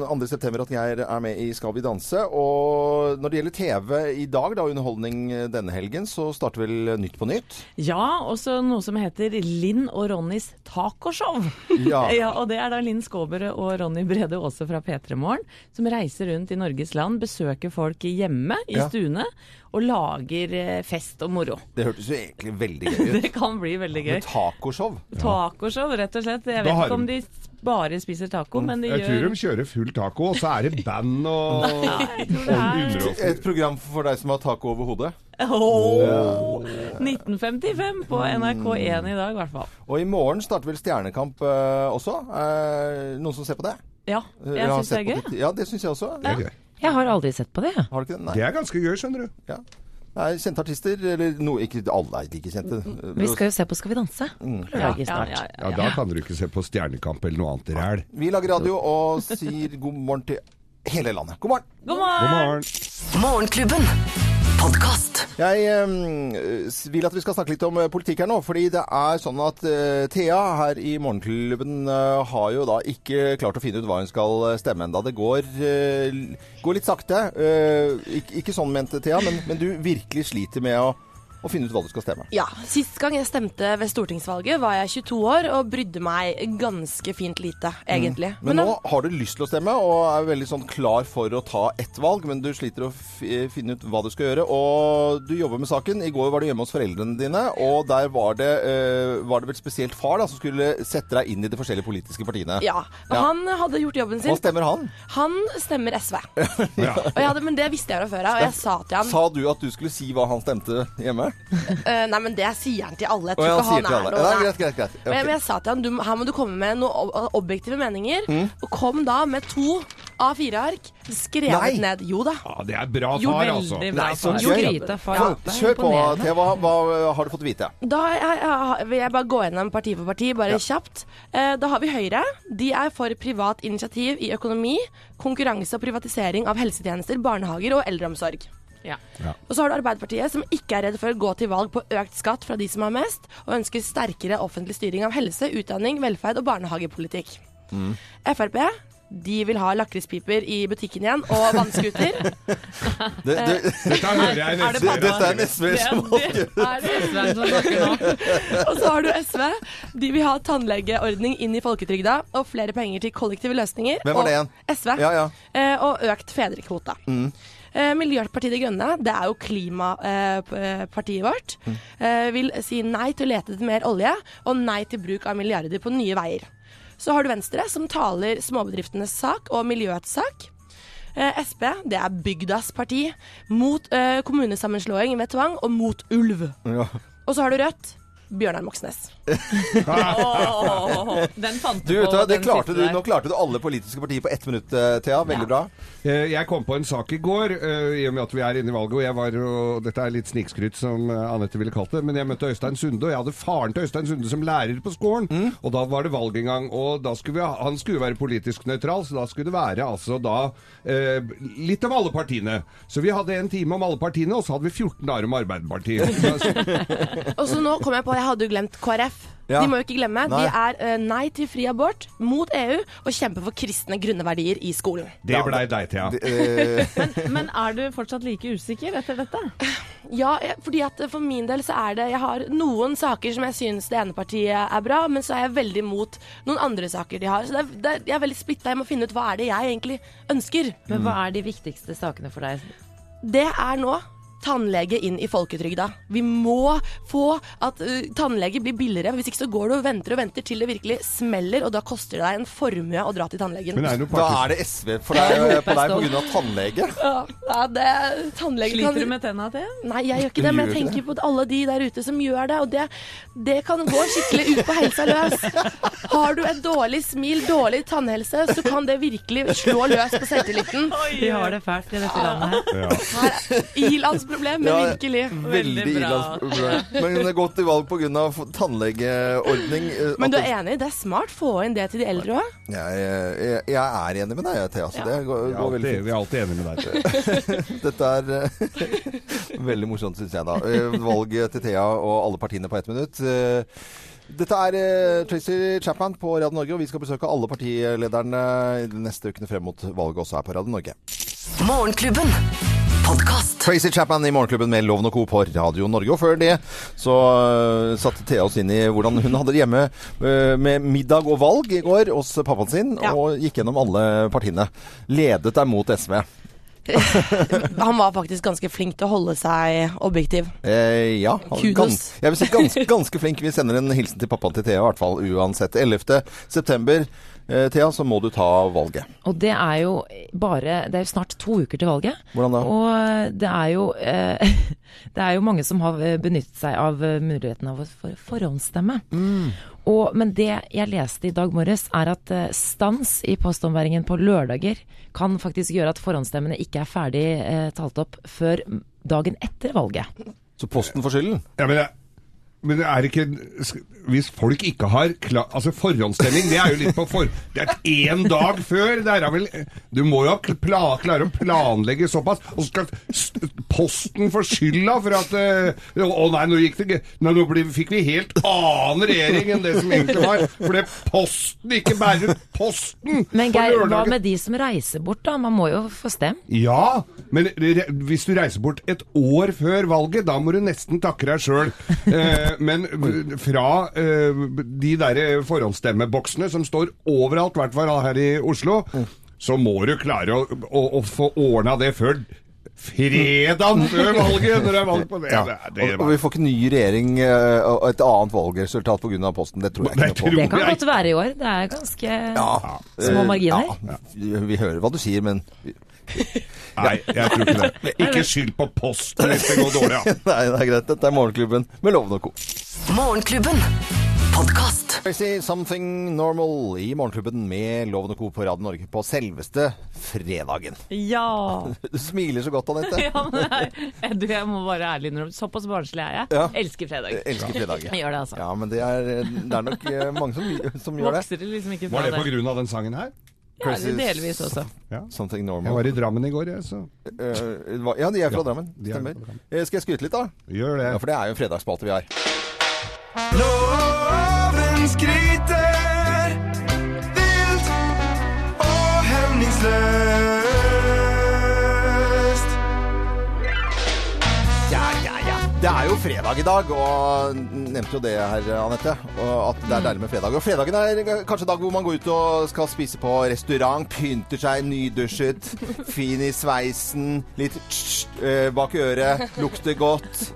Speaker 2: 2. september at Geir er med i Skal vi danse. Og når det gjelder TV i dag, da underholdning eh, denne helgen, så starter vel Nytt på nytt.
Speaker 1: Ja, også noe som heter Linn og Ronnys tacoshow.
Speaker 2: Ja.
Speaker 1: Ja, og det er da Linn Skåber og Ronny Brede Aase fra P3 Morgen som reiser rundt i Norges land, besøker folk hjemme i
Speaker 2: Ja.
Speaker 1: stuene og lager eh, fest og moro.
Speaker 2: Det hørtes jo egentlig veldig gøy ut.
Speaker 1: Det kan bli veldig gøy.
Speaker 2: Med tacoshow.
Speaker 1: Tacoshow, rett og slett. Jeg vet
Speaker 4: har
Speaker 1: ikke om
Speaker 4: de-
Speaker 1: de bare spiser
Speaker 2: Mm.
Speaker 1: taco, men de
Speaker 4: Jeg tror
Speaker 1: gjør
Speaker 4: de kjører full taco, og så er det band og
Speaker 1: tror det er-
Speaker 2: Et program for deg som har taco over hodet.
Speaker 1: Åh, 1955 på NRK1 i dag, i hvert fall.
Speaker 2: Og i morgen starter vel Stjernekamp eh, også. Eh, noen som ser på det?
Speaker 1: Ja,
Speaker 2: Jeg
Speaker 1: jeg
Speaker 2: har
Speaker 1: syns det
Speaker 2: sett
Speaker 1: er
Speaker 2: på
Speaker 1: gøy.
Speaker 2: litt- Ja, det syns jeg også.
Speaker 4: Det er gøy.
Speaker 5: Jeg har aldri sett på det, jeg.
Speaker 2: Har du ikke det? Nei.
Speaker 4: Det er ganske gøy, skjønner du.
Speaker 2: Ja. Nei, kjente artister, eller noe, ikke alle er like kjente.
Speaker 5: Men vi skal jo se på Skal vi danse på lørdag
Speaker 1: Ja,
Speaker 5: snart.
Speaker 1: ja,
Speaker 4: Ja,
Speaker 1: ja, ja.
Speaker 4: Da kan dere ikke se på Stjernekamp eller noe annet ræl.
Speaker 2: Vi lager radio og sier god morgen til hele landet. God morgen!
Speaker 1: God
Speaker 4: God
Speaker 1: morgen!
Speaker 4: morgen.
Speaker 6: Morgenklubben. Podkast.
Speaker 2: Jeg eh, s- vil at vi skal snakke litt om eh, politikk her nå, fordi det er sånn at eh, Thea her i Morgenklubben eh, har jo da ikke klart å finne ut hva hun skal eh, stemme enda. Det går, eh, l- går litt sakte. Eh, ikke, ikke sånn mente Thea, men, men du virkelig sliter med å, å finne ut hva du skal stemme.
Speaker 3: Ja, Sist gang jeg stemte ved stortingsvalget, var jeg 22 år og brydde meg ganske fint lite, egentlig.
Speaker 2: Mm. Men nå har du lyst til å stemme, og er veldig sånn klar for å ta ett valg, men du sliter å f finne ut hva du skal gjøre. Og du jobber med saken. I går var du hjemme hos foreldrene dine, og der var det, eh, var det vel spesielt far da, som skulle sette deg inn i de forskjellige politiske partiene.
Speaker 3: Ja.
Speaker 2: Ja.
Speaker 3: Han hadde gjort jobben
Speaker 2: Hva
Speaker 3: sin.
Speaker 2: stemmer han?
Speaker 3: Han stemmer SV.
Speaker 4: Ja.
Speaker 3: Og jeg hadde, men det visste jeg fra før av. Og jeg sa til han
Speaker 2: Sa du at du skulle si hva han stemte hjemme?
Speaker 3: eh, Nei, men det sier han til alle. Jeg
Speaker 2: Og
Speaker 3: tror
Speaker 2: han
Speaker 3: ikke
Speaker 2: sier
Speaker 3: han
Speaker 2: til
Speaker 3: er
Speaker 2: alle.
Speaker 3: noe
Speaker 2: Nei,
Speaker 3: nei.
Speaker 2: greit, greit, greit.
Speaker 3: Men, jeg- men
Speaker 2: Ok.
Speaker 3: jeg sa til han du, her må du komme med noen ob- objektive meninger.
Speaker 2: Mm.
Speaker 3: Og kom da med to A4-ark
Speaker 2: Nei.
Speaker 3: skrevet ned. Jo da.
Speaker 4: Ja, det er bra
Speaker 1: Jo,
Speaker 4: far, altså.
Speaker 1: veldig bra.
Speaker 2: Nei, sånn
Speaker 1: far.
Speaker 2: så
Speaker 5: Jo,
Speaker 2: gøy.
Speaker 5: gryta, far.
Speaker 2: Ja,
Speaker 5: Det er
Speaker 2: Kjør på,
Speaker 5: imponerende.
Speaker 2: Thea. Hva, hva har du fått vite?
Speaker 3: Da jeg, jeg, vil jeg bare gå gjennom parti for parti, bare kjapt. Eh, da har vi Høyre. De er for privat initiativ i økonomi, konkurranse og privatisering av helsetjenester, barnehager og eldreomsorg.
Speaker 1: Ja.
Speaker 3: Og så har du Arbeiderpartiet, som ikke er redd for å gå til valg på økt skatt fra de som har mest, og ønsker sterkere offentlig styring av helse, utdanning, velferd og barnehagepolitikk. Frp de vil ha lakrispiper i butikken igjen, og vannskuter.
Speaker 2: Det, det,
Speaker 4: Dette hører
Speaker 1: Er
Speaker 4: jeg
Speaker 1: det
Speaker 4: nesten.
Speaker 1: pappa?
Speaker 2: dette er SV som
Speaker 1: det er det SV-en som snakker nå.
Speaker 3: og så har du SV. De vil ha tannlegeordning inn i folketrygda, og flere penger til kollektive løsninger.
Speaker 2: Hvem var det
Speaker 3: og SV.
Speaker 2: Ja, Mm. ja.
Speaker 3: Eh, og økt fedrekvota. Eh, Miljøpartiet De Grønne, det er jo klimapartiet vårt,
Speaker 2: Mm.
Speaker 3: eh, vil si nei til å lete etter mer olje og nei til bruk av milliarder på nye veier. Så har du Venstre, som taler småbedriftenes sak og miljøets sak. Eh, Sp, det er bygdas parti, mot eh, kommunesammenslåing ved tvang og mot ulv.
Speaker 2: Ja.
Speaker 3: Og så har du Rødt, Bjørnar Moxnes.
Speaker 1: Åh, Den fant
Speaker 2: Du, vet
Speaker 1: på,
Speaker 2: du, hva, det
Speaker 1: den
Speaker 2: klarte
Speaker 1: siste
Speaker 2: du,
Speaker 1: der.
Speaker 2: nå klarte du alle politiske partier på ett minutt, eh, Thea. Veldig bra.
Speaker 4: Eh, Jeg kom på en sak i går, eh, i og med at vi er inne i valget, og jeg var og Dette er litt snikskryt, som eh, Anette ville kalt det, men jeg møtte Øystein Sunde, og jeg hadde faren til Øystein Sunde som lærer på skolen.
Speaker 2: Mm.
Speaker 4: Og da var det valg en gang, og da skulle vi, ha- han skulle jo være politisk nøytral, så da skulle det være altså da eh, litt av alle partiene. Så vi hadde en time om alle partiene, og så hadde vi 14 dager om Arbeiderpartiet. Da-
Speaker 3: Og så nå kom jeg på, jeg hadde jo glemt KrF.
Speaker 2: Ja.
Speaker 3: De må jo ikke glemme.
Speaker 2: Nei.
Speaker 3: De er eh, nei til fri abort, mot EU og kjemper for kristne grunne verdier i skolen.
Speaker 4: Det blei deg, Thea.
Speaker 2: Det, eh,
Speaker 1: Men er du fortsatt like usikker etter dette?
Speaker 3: Ja, jeg- fordi at eh, for min del så er det Jeg har noen saker som jeg syns det ene partiet er bra, men så er jeg veldig mot noen andre saker de har. Så det er, det er, jeg er veldig splitta. Jeg må finne ut hva er det jeg egentlig ønsker.
Speaker 5: Men hva er de viktigste sakene for deg?
Speaker 3: Det er nå tannlege inn i folketrygda. Vi må få at uh, tannlege blir billigere. Hvis ikke så går du og venter og venter til det virkelig smeller, og da koster det deg en formue å dra til tannlegen.
Speaker 4: Men er det noe
Speaker 2: da
Speaker 4: parti-
Speaker 2: er det SV for deg, på deg pga. tannlege.
Speaker 3: Ja, ja, det tannlegen
Speaker 1: Sliter
Speaker 3: kan-
Speaker 1: du med tenna til?
Speaker 3: Nei, jeg gjør ikke det, men jeg
Speaker 2: Gjør ikke
Speaker 3: tenker på alle de der ute som gjør det, og det, det kan gå skikkelig ut på helsa løs. Har du et dårlig smil, dårlig tannhelse, så kan det virkelig slå løs på selvtilliten.
Speaker 5: Vi har det fælt i dette landet her.
Speaker 3: Her er ilandsproblem, men
Speaker 2: Ja,
Speaker 3: virkelig.
Speaker 2: Veldig
Speaker 1: Veldig bra.
Speaker 2: ilandsproblem. Men hun har gått til valg pga. tannlegeordning. eh,
Speaker 3: Men du
Speaker 2: at-
Speaker 3: er enig, det er smart få inn det til de eldre òg.
Speaker 2: Jeg, jeg, jeg er enig med deg, Thea. Så det går,
Speaker 4: Vi er
Speaker 2: går veldig
Speaker 4: alltid, vi
Speaker 2: fint.
Speaker 4: er alltid enige med deg.
Speaker 2: Dette er eh, veldig morsomt, syns jeg da. Eh, Valget til Thea og alle partiene på ett minutt. Eh, Dette er eh, Tracy Chapman på Radio Norge, og vi skal besøke alle partilederne de neste ukene frem mot valget også her på Radio Norge.
Speaker 6: Morgenklubben. Podkast.
Speaker 2: Tracy Chapman i Morgenklubben med Loven og Co. på Radio Norge. Og før det så øh, satte Thea oss inn i hvordan hun hadde det hjemme øh, med middag og valg i går hos pappaen sin,
Speaker 3: Ja.
Speaker 2: og gikk gjennom alle partiene. Ledet deg mot SV.
Speaker 3: Han var faktisk ganske flink til å holde seg objektiv.
Speaker 2: Eh, ja.
Speaker 3: Kudos.
Speaker 2: gans- jeg vil si ganske, ganske flink. Vi sender en hilsen til pappaen til Thea, i hvert fall uansett. 11. september, eh, Thea, så må du ta valget.
Speaker 5: Og det er jo bare Det er jo snart to uker til valget.
Speaker 2: Hvordan da?
Speaker 5: Og det er jo eh, Det er jo mange som har eh, benyttet seg av eh, muligheten av å for forhåndsstemme. Og, men det jeg leste i dag morges, er at eh, stans i postombæringen på lørdager kan faktisk gjøre at forhåndsstemmene ikke er ferdig eh, talt opp før dagen etter valget.
Speaker 2: Så posten får skylden.
Speaker 4: Ja, men, jeg, men det er ikke Hvis folk ikke har kla, Altså forhåndsstemning, det er jo litt på for... Det er én dag før! Det er da vel Du må jo ha kl- pla, klare å planlegge såpass. Og så skal st- Posten få skylda for at eh, Å nei, nå gikk det ikke Nei, nå ble, fikk vi helt annen regjering enn det som egentlig var. Fordi Posten ikke bærer ut Posten!
Speaker 5: Men
Speaker 4: på
Speaker 5: Geir, hva
Speaker 4: lørdagen.
Speaker 5: med de som reiser bort, da? Man må jo få stemt.
Speaker 4: Ja, men re- hvis du reiser bort et år før valget, da må du nesten takke deg sjøl. Eh, men v- fra eh, de derre forhåndsstemmeboksene som står overalt, i hvert fall her i Oslo,
Speaker 2: Mm.
Speaker 4: så må du klare å, å, å få ordna det før fredagen før valget, når det er valg på det. det, det
Speaker 2: og, og vi får ikke ny regjering eh, og et annet valgresultat pga. posten. Det tror jeg ikke
Speaker 4: Nei,
Speaker 2: noe på.
Speaker 4: tror
Speaker 5: Det kan
Speaker 4: jeg-
Speaker 5: godt være i år. Det er ganske
Speaker 2: Eh,
Speaker 5: små marginer.
Speaker 2: Ja, vi, vi hører hva du sier, men
Speaker 4: Nei, jeg tror ikke det. Ikke skyld på posten hvis det går dårlig. Ja.
Speaker 2: Nei, det er greit. Dette er Morgenklubben med Loven og Co.
Speaker 6: Morgenklubben. Podkast.
Speaker 2: Tracy, Something Normal i Morgenklubben med Loven og Co. på Radio Norge på selveste fredagen.
Speaker 1: Ja.
Speaker 2: Du smiler så godt, Anette.
Speaker 1: ja men nei, du, jeg må bare ærlig innrømme, såpass barnslig er jeg.
Speaker 2: Ja.
Speaker 1: Elsker fredag.
Speaker 2: Jeg elsker fredager.
Speaker 1: Jeg gjør det, altså.
Speaker 2: Ja, men det er, det er nok eh, mange som, som gjør det.
Speaker 1: Vokser det liksom ikke
Speaker 4: Var
Speaker 1: fra
Speaker 4: det
Speaker 1: det.
Speaker 4: pga. den sangen her?
Speaker 1: Ja,
Speaker 2: Crazy
Speaker 1: delvis også.
Speaker 4: Ja.
Speaker 2: Something
Speaker 4: Jeg
Speaker 2: normal.
Speaker 4: var i Drammen i går, jeg, så
Speaker 2: Eh, hva- ja, de er fra
Speaker 4: Ja,
Speaker 2: Drammen.
Speaker 4: de er fra
Speaker 2: Stemmer.
Speaker 4: Drammen.
Speaker 2: Eh, skal jeg skryte litt, da?
Speaker 4: gjør det.
Speaker 2: Ja, for det er jo en fredagsspalte vi har.
Speaker 9: Loven skryter vilt og hemningsløst.
Speaker 2: Ja, ja, ja. Det er jo fredag i dag, og nevnte jo det her, Anette. og At det er deilig med fredag. Og fredagen er kanskje dag hvor man går ut og skal spise på restaurant, pynter seg nydusjet, fin i sveisen, litt tss, eh, bak øret, lukter godt.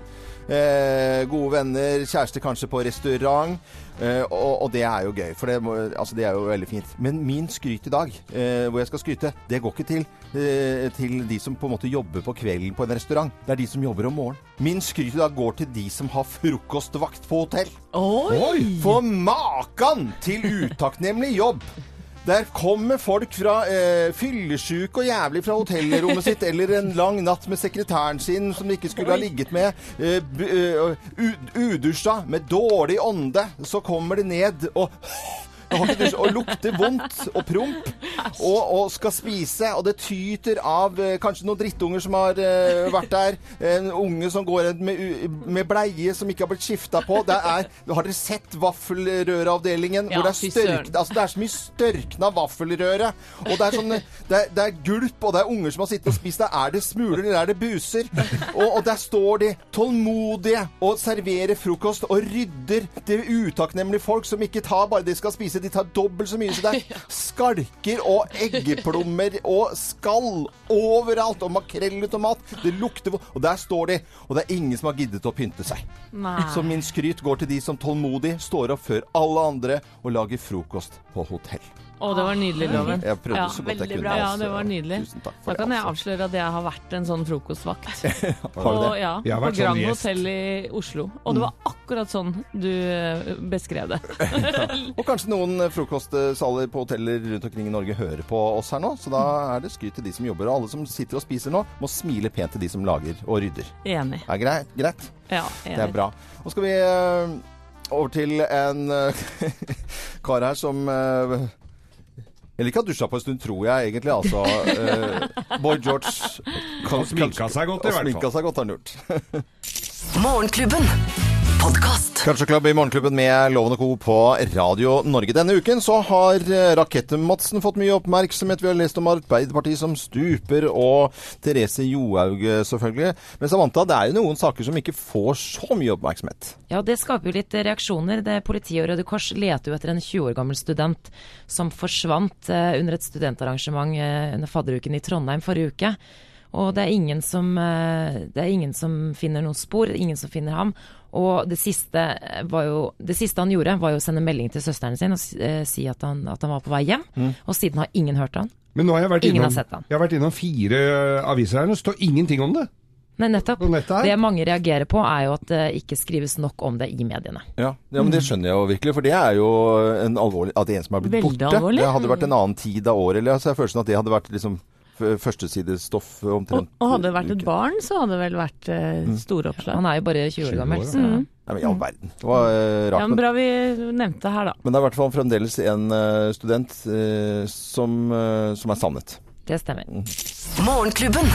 Speaker 2: Eh, gode venner, kjæreste kanskje på restaurant. Eh, og, og det er jo gøy, for det, må, altså, det er jo veldig fint. Men min skryt i dag, eh, hvor jeg skal skryte, det går ikke til, eh, til de som på en måte jobber på kvelden på en restaurant. Det er de som jobber om morgenen. Min skryt i dag går til de som har frokostvakt på hotell.
Speaker 1: Oi!
Speaker 4: Oi!
Speaker 2: For makan til utakknemlig jobb! Der kommer folk fra eh, fyllesyke og jævlig fra hotellrommet sitt, eller en lang natt med sekretæren sin som de ikke skulle ha ligget med, eh, b- eh, u- udusja, med dårlig ånde. Så kommer de ned og jeg har ikke dusj, og lukter vondt og promp, og, og skal spise, og det tyter av eh, kanskje noen drittunger som har eh, vært der, en unge som går rundt med, u- med bleie som ikke har blitt skifta på. Det er, har dere sett vaffelrøravdelingen?
Speaker 1: Ja,
Speaker 2: hvor det er,
Speaker 1: fy
Speaker 2: størk,
Speaker 1: søren.
Speaker 2: altså, det er så mye størkna vaffelrøre, og det er, sånn, det, er, det er gulp, og det er unger som har sittet og spist. Der er det smuler, eller er det buser? Og, og der står de tålmodige og serverer frokost og rydder til utakknemlige folk som ikke tar bare det de skal spise, de tar dobbelt så mye. Så det er skalker og eggeplommer og skall overalt, og makrell i tomat. Det lukter vo- Og der står de, og det er ingen som har giddet å pynte seg.
Speaker 1: Nei.
Speaker 2: Så min skryt går til de som tålmodig står opp før alle andre og lager frokost på hotell.
Speaker 1: Å, det var nydelig, Loven.
Speaker 2: Jeg prøvde
Speaker 1: Ja,
Speaker 2: så godt jeg
Speaker 1: veldig
Speaker 2: kunne.
Speaker 1: bra. Ja,
Speaker 2: altså.
Speaker 1: det var nydelig.
Speaker 2: Tusen takk for
Speaker 1: Da
Speaker 2: det.
Speaker 1: kan jeg
Speaker 2: altså.
Speaker 1: avsløre at jeg har vært en sånn frokostvakt.
Speaker 2: Har du
Speaker 1: Og,
Speaker 2: det?
Speaker 1: ja,
Speaker 4: Jeg har
Speaker 1: på
Speaker 4: vært sånn
Speaker 1: Grand
Speaker 4: gjest.
Speaker 1: Hotel i Oslo. Og det
Speaker 2: Mm.
Speaker 1: var akkurat sånn du eh, beskrev det.
Speaker 2: Og kanskje noen eh, frokostsaler på hoteller rundt omkring i Norge hører på oss her nå, så da er det skryt til de som jobber. Og alle som sitter og spiser nå, må smile pent til de som lager og rydder.
Speaker 1: Enig.
Speaker 2: Er greit? greit?
Speaker 1: Ja,
Speaker 2: Det er
Speaker 1: enig.
Speaker 2: bra. Nå skal vi eh, over til en eh, kar her som eh, eller ikke har dusja på en stund, tror jeg egentlig. altså. Eh, Boy George kan,
Speaker 4: Han sminka seg
Speaker 2: og
Speaker 4: godt, i hvert fall.
Speaker 2: sminka seg godt har han gjort.
Speaker 6: Morgenklubben. Podkast.
Speaker 2: Kanskje Club i Morgenklubben med Loven og Co. på Radio Norge. Denne uken så har eh, Rakette-Madsen fått mye oppmerksomhet. Vi har lest om Arbeiderpartiet som stuper, og Therese Johaug eh, selvfølgelig. Men Samantha, det er jo noen saker som ikke får så mye oppmerksomhet.
Speaker 5: Ja, det skaper jo litt eh, reaksjoner. Det Politiet og Røde Kors leter jo etter en 20 år gammel student som forsvant eh, under et studentarrangement eh, under fadderuken i Trondheim forrige uke. Og det er, ingen som, eh, det er ingen som finner noen spor, ingen som finner ham. Og det siste, eh, var jo, det siste han gjorde, var jo å sende melding til søsteren sin og s- eh, si at han, at han var på vei hjem. Og siden har ingen hørt han.
Speaker 4: Men nå har jeg vært
Speaker 5: Ingen har
Speaker 4: innom,
Speaker 5: sett han.
Speaker 4: jeg har vært innom fire ø, aviser her, og det står ingenting om det.
Speaker 5: Nei, nettopp.
Speaker 4: På nettet her?
Speaker 5: Det mange reagerer på, er jo at det ikke skrives nok om det i mediene.
Speaker 2: Ja. men Det skjønner jeg jo virkelig, for det er jo en alvorlig At en som er blitt
Speaker 1: Veldig
Speaker 2: borte
Speaker 1: alvorlig.
Speaker 2: Det hadde vært en annen tid av året. eller, Så jeg har følelsen at det hadde vært liksom f- førstesidestoff
Speaker 1: Og,
Speaker 2: omtrent.
Speaker 1: og hadde det vært et
Speaker 2: uken.
Speaker 1: barn, så hadde det vel vært eh, store oppslag.
Speaker 5: Han er jo bare 20 år gammel.
Speaker 4: år,
Speaker 5: Så.
Speaker 2: Nei, men i all verden. Det var eh,
Speaker 1: Mm. Ja,
Speaker 2: rart.
Speaker 1: men
Speaker 2: men-
Speaker 1: bra vi nevnte her, da.
Speaker 2: Men det er i hvert fall fremdeles en eh, student eh, som, eh, som er savnet.
Speaker 5: Det stemmer.
Speaker 6: Morgenklubben.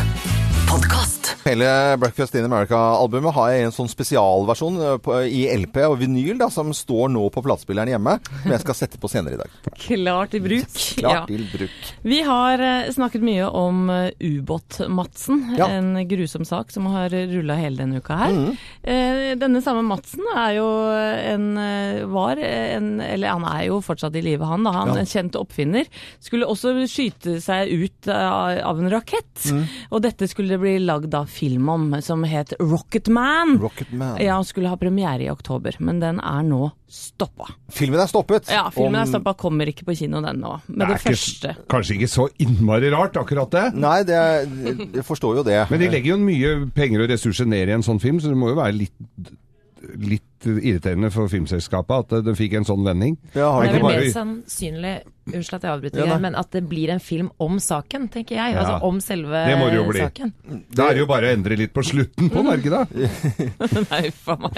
Speaker 6: Podkast.
Speaker 2: Hele Breakfast in America-albumet har jeg en sånn spesialversjon eh, på, i LP og vinyl da, som står nå på platespilleren hjemme, som jeg skal sette på senere i dag.
Speaker 1: Klart i bruk.
Speaker 2: Klart til bruk.
Speaker 1: Vi har eh, snakket mye om eh, ubåt-Madsen,
Speaker 2: Ja.
Speaker 1: en grusom sak som har rulla hele denne uka her. Eh, Denne samme Madsen er jo en eh, var en, Eller han er jo fortsatt i live, han. Da. Han en kjent oppfinner. Skulle også skyte seg ut eh, av en rakett. Og dette skulle det bli lagd da film om, som het Rocket Man.
Speaker 2: Rocket Man.
Speaker 1: Ja, skulle ha premiere i oktober, men den er nå stoppa.
Speaker 2: Filmen er stoppet.
Speaker 1: Ja, filmen
Speaker 2: Om-
Speaker 1: er stoppa, kommer ikke på kino den nå. Med det,
Speaker 4: er ikke,
Speaker 1: første.
Speaker 4: s- kanskje ikke så innmari rart, akkurat det.
Speaker 2: Nei, det er, jeg forstår jo det.
Speaker 4: Men de legger jo mye penger og ressurser ned i en sånn film, så det må jo være litt, litt litt irriterende for filmselskapet at eh, den fikk en sånn vending.
Speaker 2: Ja, har
Speaker 5: Det
Speaker 2: det
Speaker 5: er vel
Speaker 2: ikke
Speaker 5: mer
Speaker 2: bare
Speaker 5: sannsynlig Unnskyld at jeg avbryter,
Speaker 2: Ja, nei.
Speaker 5: Geir, men at det blir en film om saken, tenker jeg.
Speaker 4: Ja.
Speaker 5: Altså om selve
Speaker 4: Det må det jo bli.
Speaker 5: saken.
Speaker 4: Da er det jo bare å endre litt på slutten på, er det ikke det?
Speaker 1: Nei, for meg.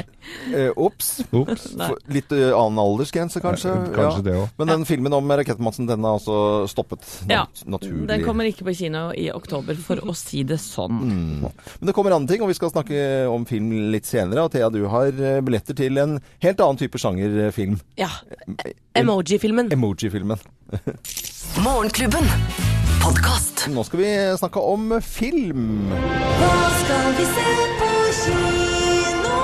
Speaker 2: Eh, Ops.
Speaker 4: Ops.
Speaker 2: For Litt eh, annen aldersgrense, kanskje.
Speaker 4: Ja, kanskje det også.
Speaker 2: Men den filmen om Rakettmannen, den har altså stoppet nat
Speaker 1: Ja,
Speaker 2: naturlig.
Speaker 1: Den kommer ikke på kino i oktober, for å si det sånn.
Speaker 2: Men det kommer andre ting, og vi skal snakke om film litt senere. Og Thea, du har eh, billetter til en helt annen type sjangerfilm.
Speaker 3: Ja. Emoji-filmen.
Speaker 2: Emoji-filmen.
Speaker 6: Morgenklubben. Podkast.
Speaker 2: Nå skal vi snakke om film.
Speaker 8: Hva skal vi se på kino?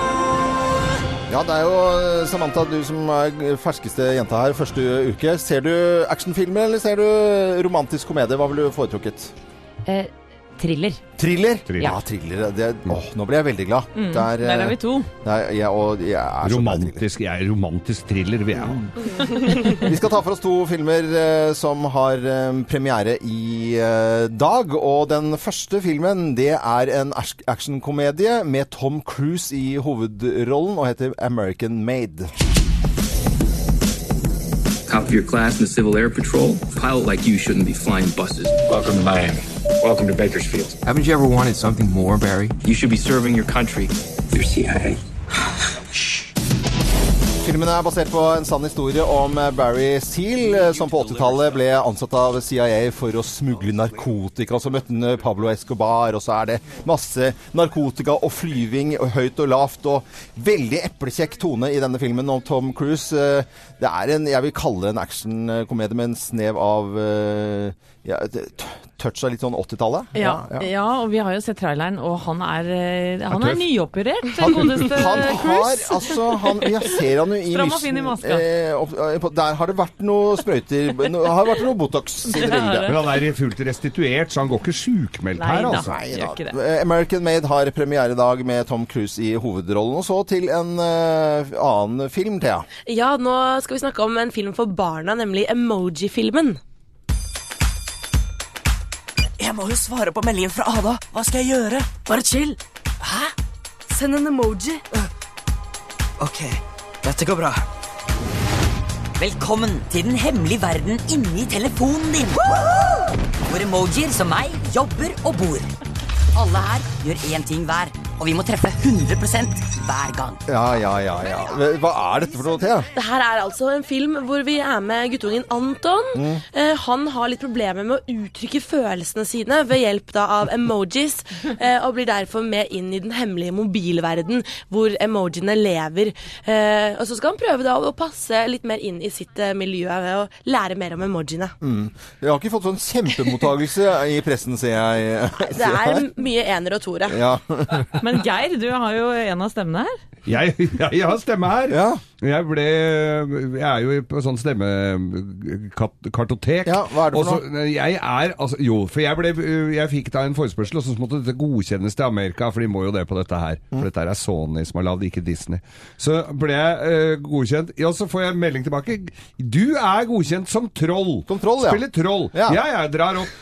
Speaker 2: Ja, det er jo eh, Samantha, du som er g- ferskeste jenta her første uke. Ser du actionfilmer, eller ser du romantisk komedie? Hva ville du foretrukket?
Speaker 5: Eh, thriller.
Speaker 2: Thriller?
Speaker 4: Thriller.
Speaker 2: Ja, thriller. Det, åh, nå ble jeg veldig glad. Der,
Speaker 1: Der Mm. er vi to.
Speaker 2: jeg, og, jeg er så glad i thriller.
Speaker 4: Romantisk, jeg er romantisk thriller, vil jeg ha.
Speaker 2: Vi skal ta for oss to filmer eh, som har eh, premiere i eh, dag. Og den første filmen det er en ask- actionkomedie med Tom Cruise i hovedrollen og heter American Made.
Speaker 10: Top of your class in the Civil Air Patrol? Pilot like you shouldn't be flying buses. Welcome to Miami. Welcome to Bakersfield.
Speaker 9: Haven't you ever wanted something more, Barry?
Speaker 10: You should be serving your country. Your CIA.
Speaker 2: Filmen er basert på en sann historie om eh, Barry Seal, eh, som på 80-tallet ble ansatt av CIA for å smugle narkotika. Så møtte han eh, Pablo Escobar, og så er det masse narkotika og flyving og høyt og lavt. Og veldig eplekjekk tone i denne filmen om Tom Cruise. Eh, Det er en, jeg vil kalle det en actionkomedie med en snev av eh, ja, t- touch av litt sånn 80-tallet.
Speaker 1: Ja, ja, og vi har jo sett traileren, og han er, eh, han er
Speaker 4: Er tøff.
Speaker 1: nyoperert,
Speaker 2: Han-
Speaker 1: godeste
Speaker 2: han har,
Speaker 1: Cruise.
Speaker 2: altså, han, jeg ser han jo i
Speaker 1: Stram og
Speaker 2: lysen,
Speaker 1: fin i maska.
Speaker 2: eh, opp- på- der har det vært noe sprøyter no, har det vært noe Botox i det bildet.
Speaker 4: Men han er fullt restituert, så han går ikke sjukmeldt
Speaker 1: Nei
Speaker 4: her,
Speaker 1: da.
Speaker 4: altså.
Speaker 1: Gjør
Speaker 2: Nei, da.
Speaker 1: ikke det.
Speaker 2: Eh, American Made har premiere i dag med Tom Cruise i hovedrollen. Og så til en eh, annen film, Thea.
Speaker 3: Ja, nå skal vi snakke om en film for barna, nemlig Emoji-filmen.
Speaker 6: Jeg må jo svare på meldingen fra Ada. Hva skal jeg gjøre? Bare chill. Hæ? Send en emoji. Ok, dette går bra. Velkommen til den hemmelige verden inni telefonen din. Hvor emojier som meg jobber og bor. Alle her gjør én ting hver, og vi må treffe 100 hver gang.
Speaker 2: Ja, ja, ja, ja. Eh, Hva er dette for noe, Thea?
Speaker 3: Det her er altså en film hvor vi er med guttungen Anton. Eh, han har litt problemer med å uttrykke følelsene sine ved hjelp da av emojis, eh, og blir derfor med inn i den hemmelige mobilverden hvor emojiene lever. Eh, og så skal han prøve da å passe litt mer inn i sitt eh, miljø ved å lære mer om emojiene.
Speaker 2: Jeg har ikke fått sånn kjempemottagelse i pressen, ser jeg.
Speaker 3: Det er mye ener og toere.
Speaker 2: Ja.
Speaker 1: Men Geir, du har jo en av stemmene her.
Speaker 4: Jeg, jeg, jeg har stemme her.
Speaker 2: Ja.
Speaker 4: Jeg ble Jeg er jo på sånn stemmekartotek.
Speaker 2: Ja, hva er det for
Speaker 4: Og så- Jeg er altså Jo, for jeg ble Jeg fikk da en forespørsel, og så måtte dette godkjennes til Amerika, for de må jo det på dette her.
Speaker 2: Mm.
Speaker 4: For dette her er Sony som har lagd, ikke Disney. Så ble jeg eh, godkjent. Ja, så får jeg melding tilbake. Du er godkjent som troll.
Speaker 2: Som troll, ja.
Speaker 4: Spiller troll.
Speaker 2: Ja.
Speaker 4: ja, jeg drar opp.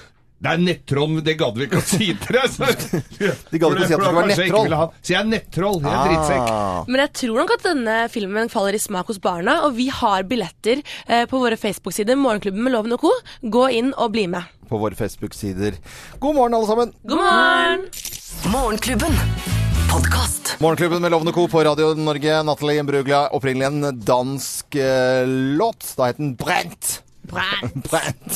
Speaker 4: Det er nettroll, men det gadd vi ikke å si til deg. så-
Speaker 2: De gadd ikke å si at det skulle være
Speaker 4: Kanskje jeg ikke
Speaker 2: nettroll.
Speaker 4: ville ha- Så jeg er nettroll. Jeg er drittsekk.
Speaker 2: Ah.
Speaker 3: Men jeg tror nok at denne filmen faller i smak hos barna, og vi har billetter eh, på våre Facebook-sider, Morgenklubben med Loven og co. Gå inn og bli med.
Speaker 2: På våre Facebook-sider. God morgen, alle sammen.
Speaker 3: God morgen!
Speaker 6: Morgenklubben. Podkast.
Speaker 2: Morgenklubben med Lovende Co. på Radio Norge. Natalie Bruglia, opprinnelig en dansk eh, låt. Da het den Brent. Brent.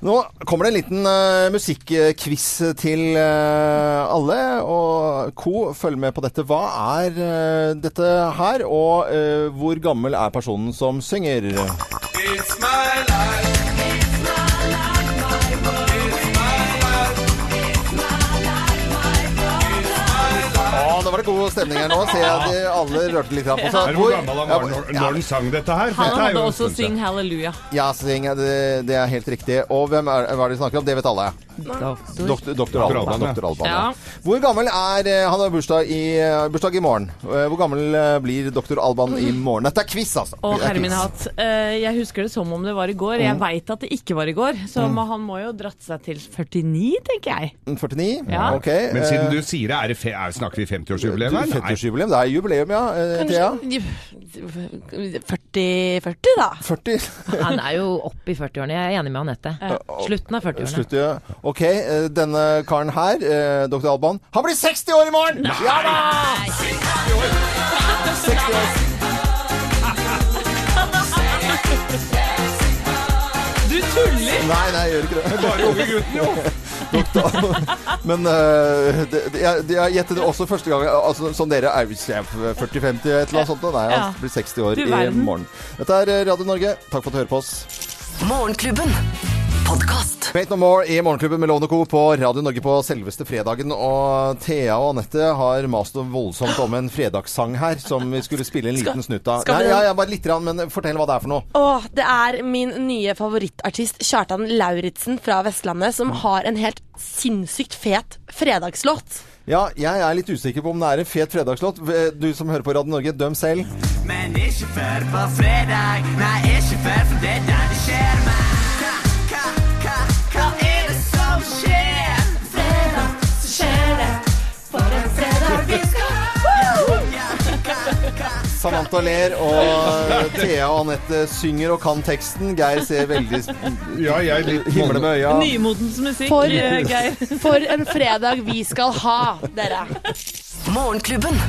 Speaker 2: Nå kommer det en liten eh, musikkquiz til eh, alle. Og co, følg med på dette. Hva er eh, dette her, og eh, hvor gammel er personen som synger?
Speaker 9: It's my life.
Speaker 2: Å, nå var det god stemning her nå. Ser jeg at de alle rørte litt grann på seg.
Speaker 4: Er det hvor gammel han var når, når han sang dette her?
Speaker 1: Han
Speaker 4: Dette er jo
Speaker 1: hadde
Speaker 4: en
Speaker 1: også
Speaker 4: stund siden.
Speaker 1: Syng Hallelujah.
Speaker 2: Ja, syng, det, det er helt riktig. Og hvem er, hva er det de snakker om? Det vet alle.
Speaker 5: Doktor.
Speaker 2: Doktor, doktor Alban.
Speaker 4: Alban, ja.
Speaker 2: Doktor Alban ja.
Speaker 5: Ja.
Speaker 2: Hvor gammel er eh, Han har bursdag i, eh, bursdag i morgen. Eh, Hvor gammel eh, blir doktor Alban i morgen? Dette er quiz, altså.
Speaker 1: Å,
Speaker 2: Det er
Speaker 1: herre min
Speaker 2: quiz.
Speaker 1: hatt. Eh, jeg husker det som om det var i går. Jeg veit at det ikke var i går, så må- han må jo dratt seg til 49, tenker jeg.
Speaker 2: 49?
Speaker 1: Ja.
Speaker 2: Mm, Ok.
Speaker 4: Men siden du sier det, er det fe er, snakker vi 50-årsjubileum her? Nei.
Speaker 2: 50-årsjubileum. Det er jubileum, ja. eh, Thea?
Speaker 3: Kanskje 40, 40 da.
Speaker 2: 40?
Speaker 5: Han er jo opp i 40-årene. Jeg er enig med Anette. Slutten av 40-årene.
Speaker 2: Slutt, ja. Ok, eh, denne karen her, eh, doktor Alban, han blir 60 år i morgen! Ja da! 60 år.
Speaker 1: Du tuller!
Speaker 2: Nei, nei, jeg gjør ikke det.
Speaker 4: Bare unge gutten, jo!
Speaker 2: Men øh, det, det, jeg, det- jeg gjettet det også første gang. Altså, som dere er hvis jeg er 40-50 et eller annet sånt. Nei,
Speaker 1: Ja.
Speaker 2: han blir 60 år
Speaker 1: Du
Speaker 2: i
Speaker 1: verden.
Speaker 2: morgen. Dette er eh, Radio Norge. Takk for at du hører på oss.
Speaker 6: Morgenklubben. Podkast.
Speaker 2: Fate No More i Morgenklubben med Lovende Co. på Radio Norge på selveste fredagen. Og Thea og Anette har mast noe voldsomt om en fredagssang her, som vi skulle spille en liten snutt av.
Speaker 3: skal vi
Speaker 2: Nei,
Speaker 3: den?
Speaker 2: ja, ja, bare litt, grann, men fortell hva det er for noe.
Speaker 3: Åh, det er min nye favorittartist Kjartan Lauritsen fra Vestlandet som har en helt sinnssykt fet fredagslåt.
Speaker 2: Ja, jeg er litt usikker på om det er en fet fredagslåt. Du som hører på Radio Norge, døm selv.
Speaker 9: Men ikke før på fredag. Nei, ikke før, for det er der det skjer meg. Hva, hva, hva, hva er det som skjer? Fredag, så skjer det. For en fredag vi skal ha. Ja, hva, hva,
Speaker 2: Samantha ler, og Thea og Anette synger og kan teksten. Geir ser veldig
Speaker 4: Ja, jeg er litt
Speaker 2: himler med øya.
Speaker 1: Nymotens musikk,
Speaker 3: For-
Speaker 1: eh, Geir.
Speaker 3: For en fredag vi skal ha, dere.
Speaker 6: Morgenklubben.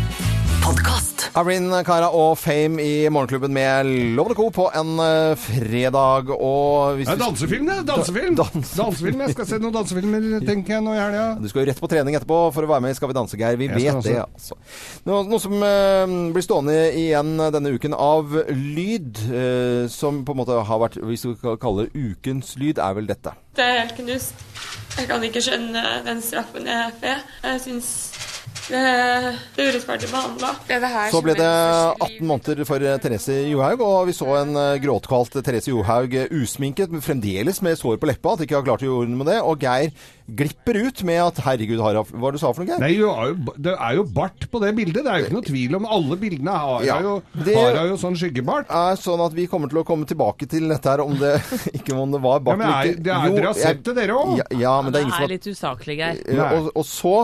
Speaker 6: Podkast.
Speaker 2: Irene Cara og Fame i Morgenklubben med Lovende Co. på en eh, fredag. Og hvis
Speaker 4: Det er
Speaker 2: du,
Speaker 4: dansefilm, det. Dansefilm.
Speaker 2: Da- dansefilm.
Speaker 4: dansefilm. Jeg skal se noen dansefilmer, tenker jeg, nå i helga.
Speaker 2: du skal jo rett på trening etterpå for å være med i Skal vi danse, Geir. Vi
Speaker 4: Jeg skal
Speaker 2: vet det, altså. Noe, noe som eh, blir stående igjen denne uken av lyd, eh, som på en måte har vært Hvis vi skal kalle det ukens lyd, er vel dette.
Speaker 11: Det er helt knust. Jeg kan ikke skjønne den straffen jeg får. Jeg syns det er urettferdig behandla.
Speaker 2: Så ble det 18 måneder for eh, Therese Johaug, og vi så en eh, gråtkvalt Therese Johaug eh, usminket, men fremdeles med sår på leppa, at de ikke har klart å gjøre noe med det. Og Geir glipper ut med at 'herregud, Harald, hva var det du sa for noe, Geir?
Speaker 4: Nei, jo, er jo- det er jo bart på det bildet. Det er jo ikke noe tvil om Alle bildene har
Speaker 2: Ja,
Speaker 4: jo,
Speaker 2: det-
Speaker 4: har jo sånn skyggebart.
Speaker 2: er sånn at vi kommer til å komme tilbake til dette her om det ikke om det var bak
Speaker 4: Ja, men er- det er- dere har sett det, dere også.
Speaker 2: Ja, ja, men det er ingen
Speaker 1: Det
Speaker 2: som
Speaker 1: er
Speaker 2: har
Speaker 1: litt usaklig, Geir.
Speaker 2: Eh,
Speaker 4: Nei.
Speaker 2: og, og så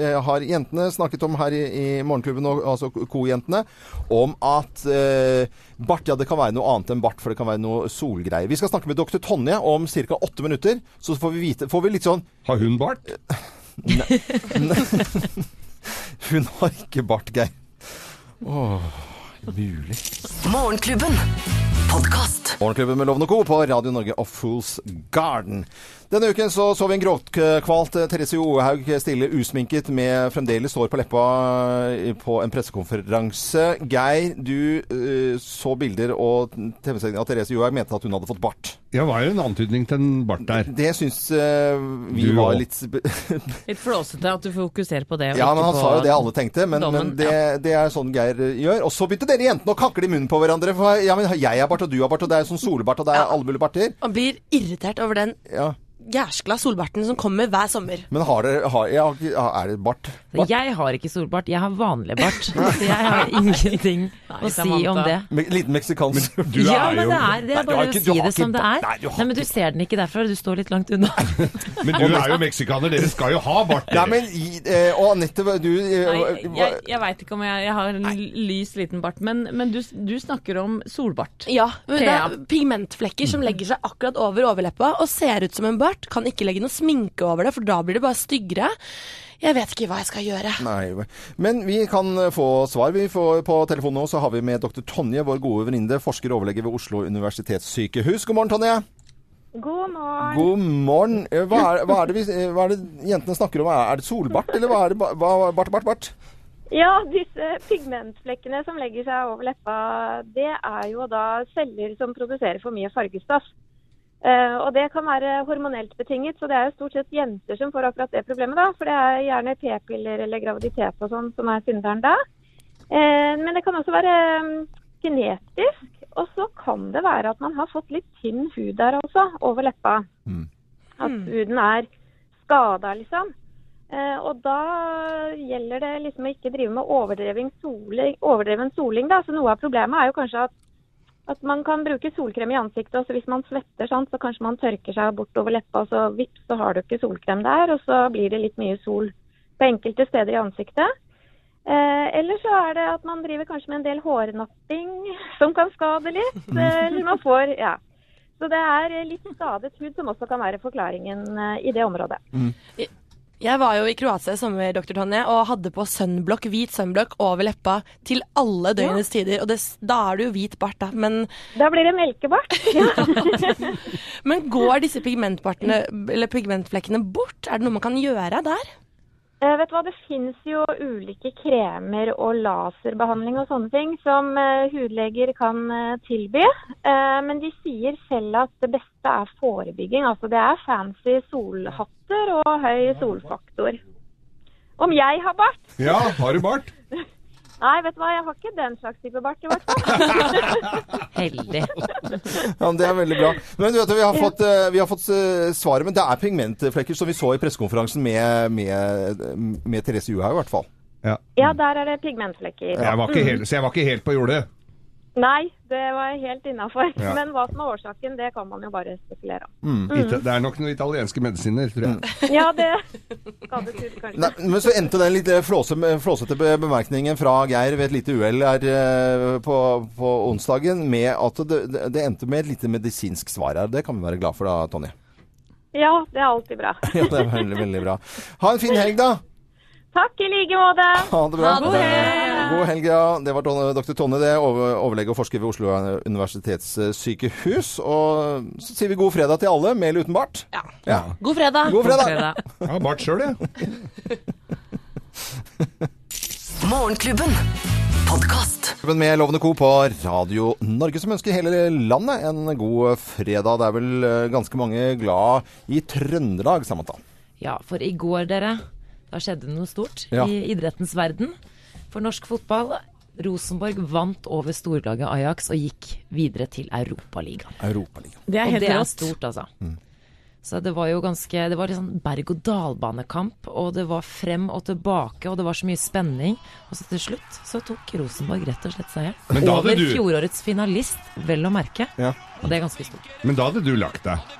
Speaker 2: eh, har jentene snakket om her i, i Morgenklubben, og- altså ko-jentene, om at eh, bart ja, det kan være noe annet enn bart, for det kan være noe solgreier. Vi skal snakke med doktor Tonje om ca. åtte minutter, så får vi vite Får vi litt sånn
Speaker 4: Har hun bart?
Speaker 2: Hun har ikke bart, Geir. Åh, mulig.
Speaker 6: Morgenklubben. Podkast.
Speaker 2: Morgenklubben med Lovende Co. på Radio Norge og Fools Garden. Denne uken så, så vi en gråtkvalt eh, Therese Johaug stille usminket med fremdeles sår på leppa eh, på en pressekonferanse. Geir, du eh, så bilder og TV-sendingen av Therese Johaug mente at hun hadde fått bart.
Speaker 4: Ja, var jo en antydning til en bart der.
Speaker 2: Det syns eh, vi
Speaker 4: Du
Speaker 2: var
Speaker 4: også.
Speaker 2: litt sp-
Speaker 1: Litt flåsete at du fokuserer på det. og
Speaker 2: Ja,
Speaker 1: ikke
Speaker 2: men han
Speaker 1: på-
Speaker 2: sa jo det alle tenkte, men, men
Speaker 1: dommen,
Speaker 2: det, det er sånn Geir gjør. Og så begynte dere jentene å kakle i munnen på hverandre. For ja, men jeg har bart, og du har bart, og det er sånn solbart, og det er alle mulige barter.
Speaker 3: Man blir irritert over den
Speaker 2: Ja.
Speaker 3: jæskla solbarten som kommer hver sommer.
Speaker 2: Men har dere har, ja, Er det bart? bart?
Speaker 5: Jeg har ikke solbart, jeg har vanlig bart. Så jeg har ingenting å si om
Speaker 1: Samantha.
Speaker 5: det.
Speaker 2: Me liten meksikansk
Speaker 4: Du
Speaker 5: ja,
Speaker 4: er
Speaker 5: men
Speaker 4: jo
Speaker 5: det er,
Speaker 2: Nei,
Speaker 5: det er
Speaker 2: du har
Speaker 5: bare
Speaker 2: ikke-
Speaker 5: å
Speaker 2: du
Speaker 5: si
Speaker 2: har ikke
Speaker 5: det som det
Speaker 2: bart.
Speaker 5: er.
Speaker 2: Nei, du har
Speaker 5: Nei, men du ser den ikke derfra, du står litt langt unna.
Speaker 4: Men du er jo meksikaner, dere skal jo ha bart.
Speaker 2: Nei, men i- eh, Og Anette, hva- du eh,
Speaker 1: Nei,
Speaker 2: hva-
Speaker 1: jeg, jeg veit ikke om jeg, jeg har en lys liten bart, men, men du, du snakker om solbart.
Speaker 3: Ja, men det er
Speaker 1: Thea.
Speaker 3: pigmentflekker som legger seg akkurat over overleppa og ser ut som en bart. Kan ikke legge noe sminke over det, for da blir det bare styggere. Jeg vet ikke hva jeg skal gjøre.
Speaker 2: Nei, men vi kan eh, få svar. Vi får på telefonen nå så har vi med dr. Tonje, vår gode venninne, forsker og overlege ved Oslo universitetssykehus. God morgen, Tonje.
Speaker 11: God morgen.
Speaker 2: God morgen. Eh, Hva er, hva er, det, vi, eh, hva er det jentene snakker om? Er det solbart, eller hva er det? ba- Hva, bart, bart, bart?
Speaker 11: Ja, disse pigmentflekkene som legger seg over leppa, det er jo da celler som produserer for mye fargestoff. Eh, og det kan være hormonelt betinget, så det er jo stort sett jenter som får akkurat det problemet, da. For det er gjerne p-piller eller graviditet og sånn som er synderen da. Eh, men det kan også være mm, genetisk. Og så kan det være at man har fått litt tynn hud der også, over leppa. At huden er skada, liksom. Eh, og da gjelder det liksom å ikke drive med overdreven soling, overdreven soling da. Så noe av problemet er jo kanskje at, at man kan bruke solkrem i ansiktet, og så hvis man svetter, sant, så kanskje man tørker seg bortover leppa, og så vips, så har du ikke solkrem der. Og så blir det litt mye sol på enkelte steder i ansiktet. Eh, eller så er det at man driver kanskje med en del hårnapping som kan skade litt. Eh, eller man får, ja. Så det er eh, litt skadet hud som også kan være forklaringen eh, i det området.
Speaker 3: Jeg var jo i Kroatia i sommer, Dr. Tonje, og hadde på sunblock, hvit sunblock over leppa til alle døgnets tider. Og det, da er det jo hvit bart, da. Men
Speaker 11: Da blir det melkebart.
Speaker 3: Men går disse pigmentbartene,
Speaker 11: Mm.
Speaker 3: eller pigmentflekkene bort? Er det noe man kan gjøre der?
Speaker 11: Eh, vet du hva, Det finnes jo ulike kremer og laserbehandling og sånne ting som eh, hudleger kan eh, tilby. Eh, men de sier selv at det beste er forebygging. Altså det er fancy solhatter og høy solfaktor. Om jeg har bart?
Speaker 4: Ja, har du bart?
Speaker 11: Nei, vet du hva, jeg har ikke den slags type bart i hvert fall.
Speaker 5: Heldig.
Speaker 2: Ja, men Det er veldig bra. Men du vet, Vi har fått, eh, vi har fått eh, svaret, men det er pigmentflekker, som vi så i pressekonferansen med, med, med Therese Johaug, i hvert fall.
Speaker 11: ja, der er det pigmentflekker.
Speaker 4: Jeg var
Speaker 1: Mm.
Speaker 4: ikke helt, så jeg var ikke helt på jordet.
Speaker 11: Nei, det var helt innafor.
Speaker 4: Ja.
Speaker 11: Men hva som er årsaken, det kan man jo bare spekulere om.
Speaker 1: Mm.
Speaker 4: Ita- Det er nok noen italienske medisiner, tror jeg.
Speaker 11: Ja, det skadet hud, kanskje.
Speaker 2: Nei, men så endte den litt eh, flåse, flåsete be- bemerkningen fra Geir ved et lite uhell her eh, på, på onsdagen med at det, det- det endte med et lite medisinsk svar her. Det kan vi være glad for da, Tonje.
Speaker 11: Ja, det er alltid bra.
Speaker 2: Ja, det er veldig, veldig bra. Ha en fin helg, da!
Speaker 11: Takk i like måte.
Speaker 2: Ha det bra.
Speaker 11: God helg.
Speaker 2: God helg, ja. Det var Tonje- dr. Tonje, det. over- Overlege og forsker ved Oslo universitetssykehus. Og så sier vi god fredag til alle, med eller uten bart. Ja.
Speaker 3: God fredag!
Speaker 2: God fredag!
Speaker 4: Jeg har bart sjøl, jeg.
Speaker 6: Morgenklubben. Podkast.
Speaker 2: Klubben Med Lovende Co. på Radio Norge, som ønsker hele landet en god fredag. Det er vel eh, ganske mange glad i Trøndelag, Samantha.
Speaker 5: Ja, for i går, dere, da skjedde det noe stort
Speaker 2: Ja.
Speaker 5: i idrettens verden. For norsk fotball, Rosenborg vant over storlaget Ajax og gikk videre til Europaligaen.
Speaker 2: Europaligaen.
Speaker 1: Det er
Speaker 5: Og
Speaker 1: helt
Speaker 5: det er
Speaker 1: rått.
Speaker 5: stort, altså.
Speaker 2: Mm.
Speaker 5: Så det var jo ganske Det var litt sånn berg-og-dal-banekamp, og det var frem og tilbake, og det var så mye spenning. Og så til slutt så tok Rosenborg rett og slett
Speaker 4: Men
Speaker 5: seieren.
Speaker 4: da hadde
Speaker 5: Over
Speaker 4: du-
Speaker 5: fjorårets finalist, vel å merke.
Speaker 2: Ja.
Speaker 5: Og det er ganske stort.
Speaker 4: Men da hadde du lagt deg.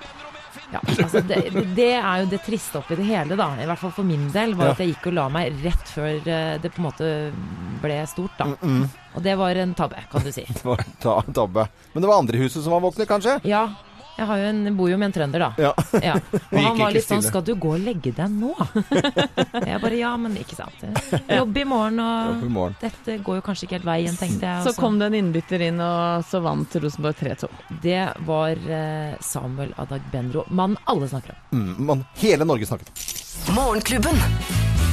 Speaker 5: Ja, altså det, det er jo det triste oppi det hele, da. I hvert fall for min del. Var
Speaker 2: Ja.
Speaker 5: at jeg gikk og la meg rett før eh, det på en måte ble stort,
Speaker 4: Mm,
Speaker 5: da. Og det var en tabbe, kan du si.
Speaker 2: Det var ta- tabbe. Men det var andre huset som var våkne, kanskje?
Speaker 5: Ja. Jeg har jo en, bor jo med en trønder, da.
Speaker 2: Ja.
Speaker 5: Ja. Og
Speaker 4: gikk
Speaker 5: han var
Speaker 4: ikke
Speaker 5: litt sånn
Speaker 4: stille.
Speaker 5: 'skal du gå og legge deg nå?' Jeg bare ja, men ikke sant. Jobb i morgen,
Speaker 2: Jobb i
Speaker 5: og
Speaker 2: morgen.
Speaker 5: dette går jo kanskje ikke helt veien, tenkte jeg. altså. og
Speaker 1: Så kom det en innbytter inn, og så vant Rosenborg 3-2.
Speaker 5: Det var eh, Samuel Adagbenro. Mannen alle snakker om.
Speaker 2: Mm, man, hele Norge snakket.
Speaker 6: Morgenklubben.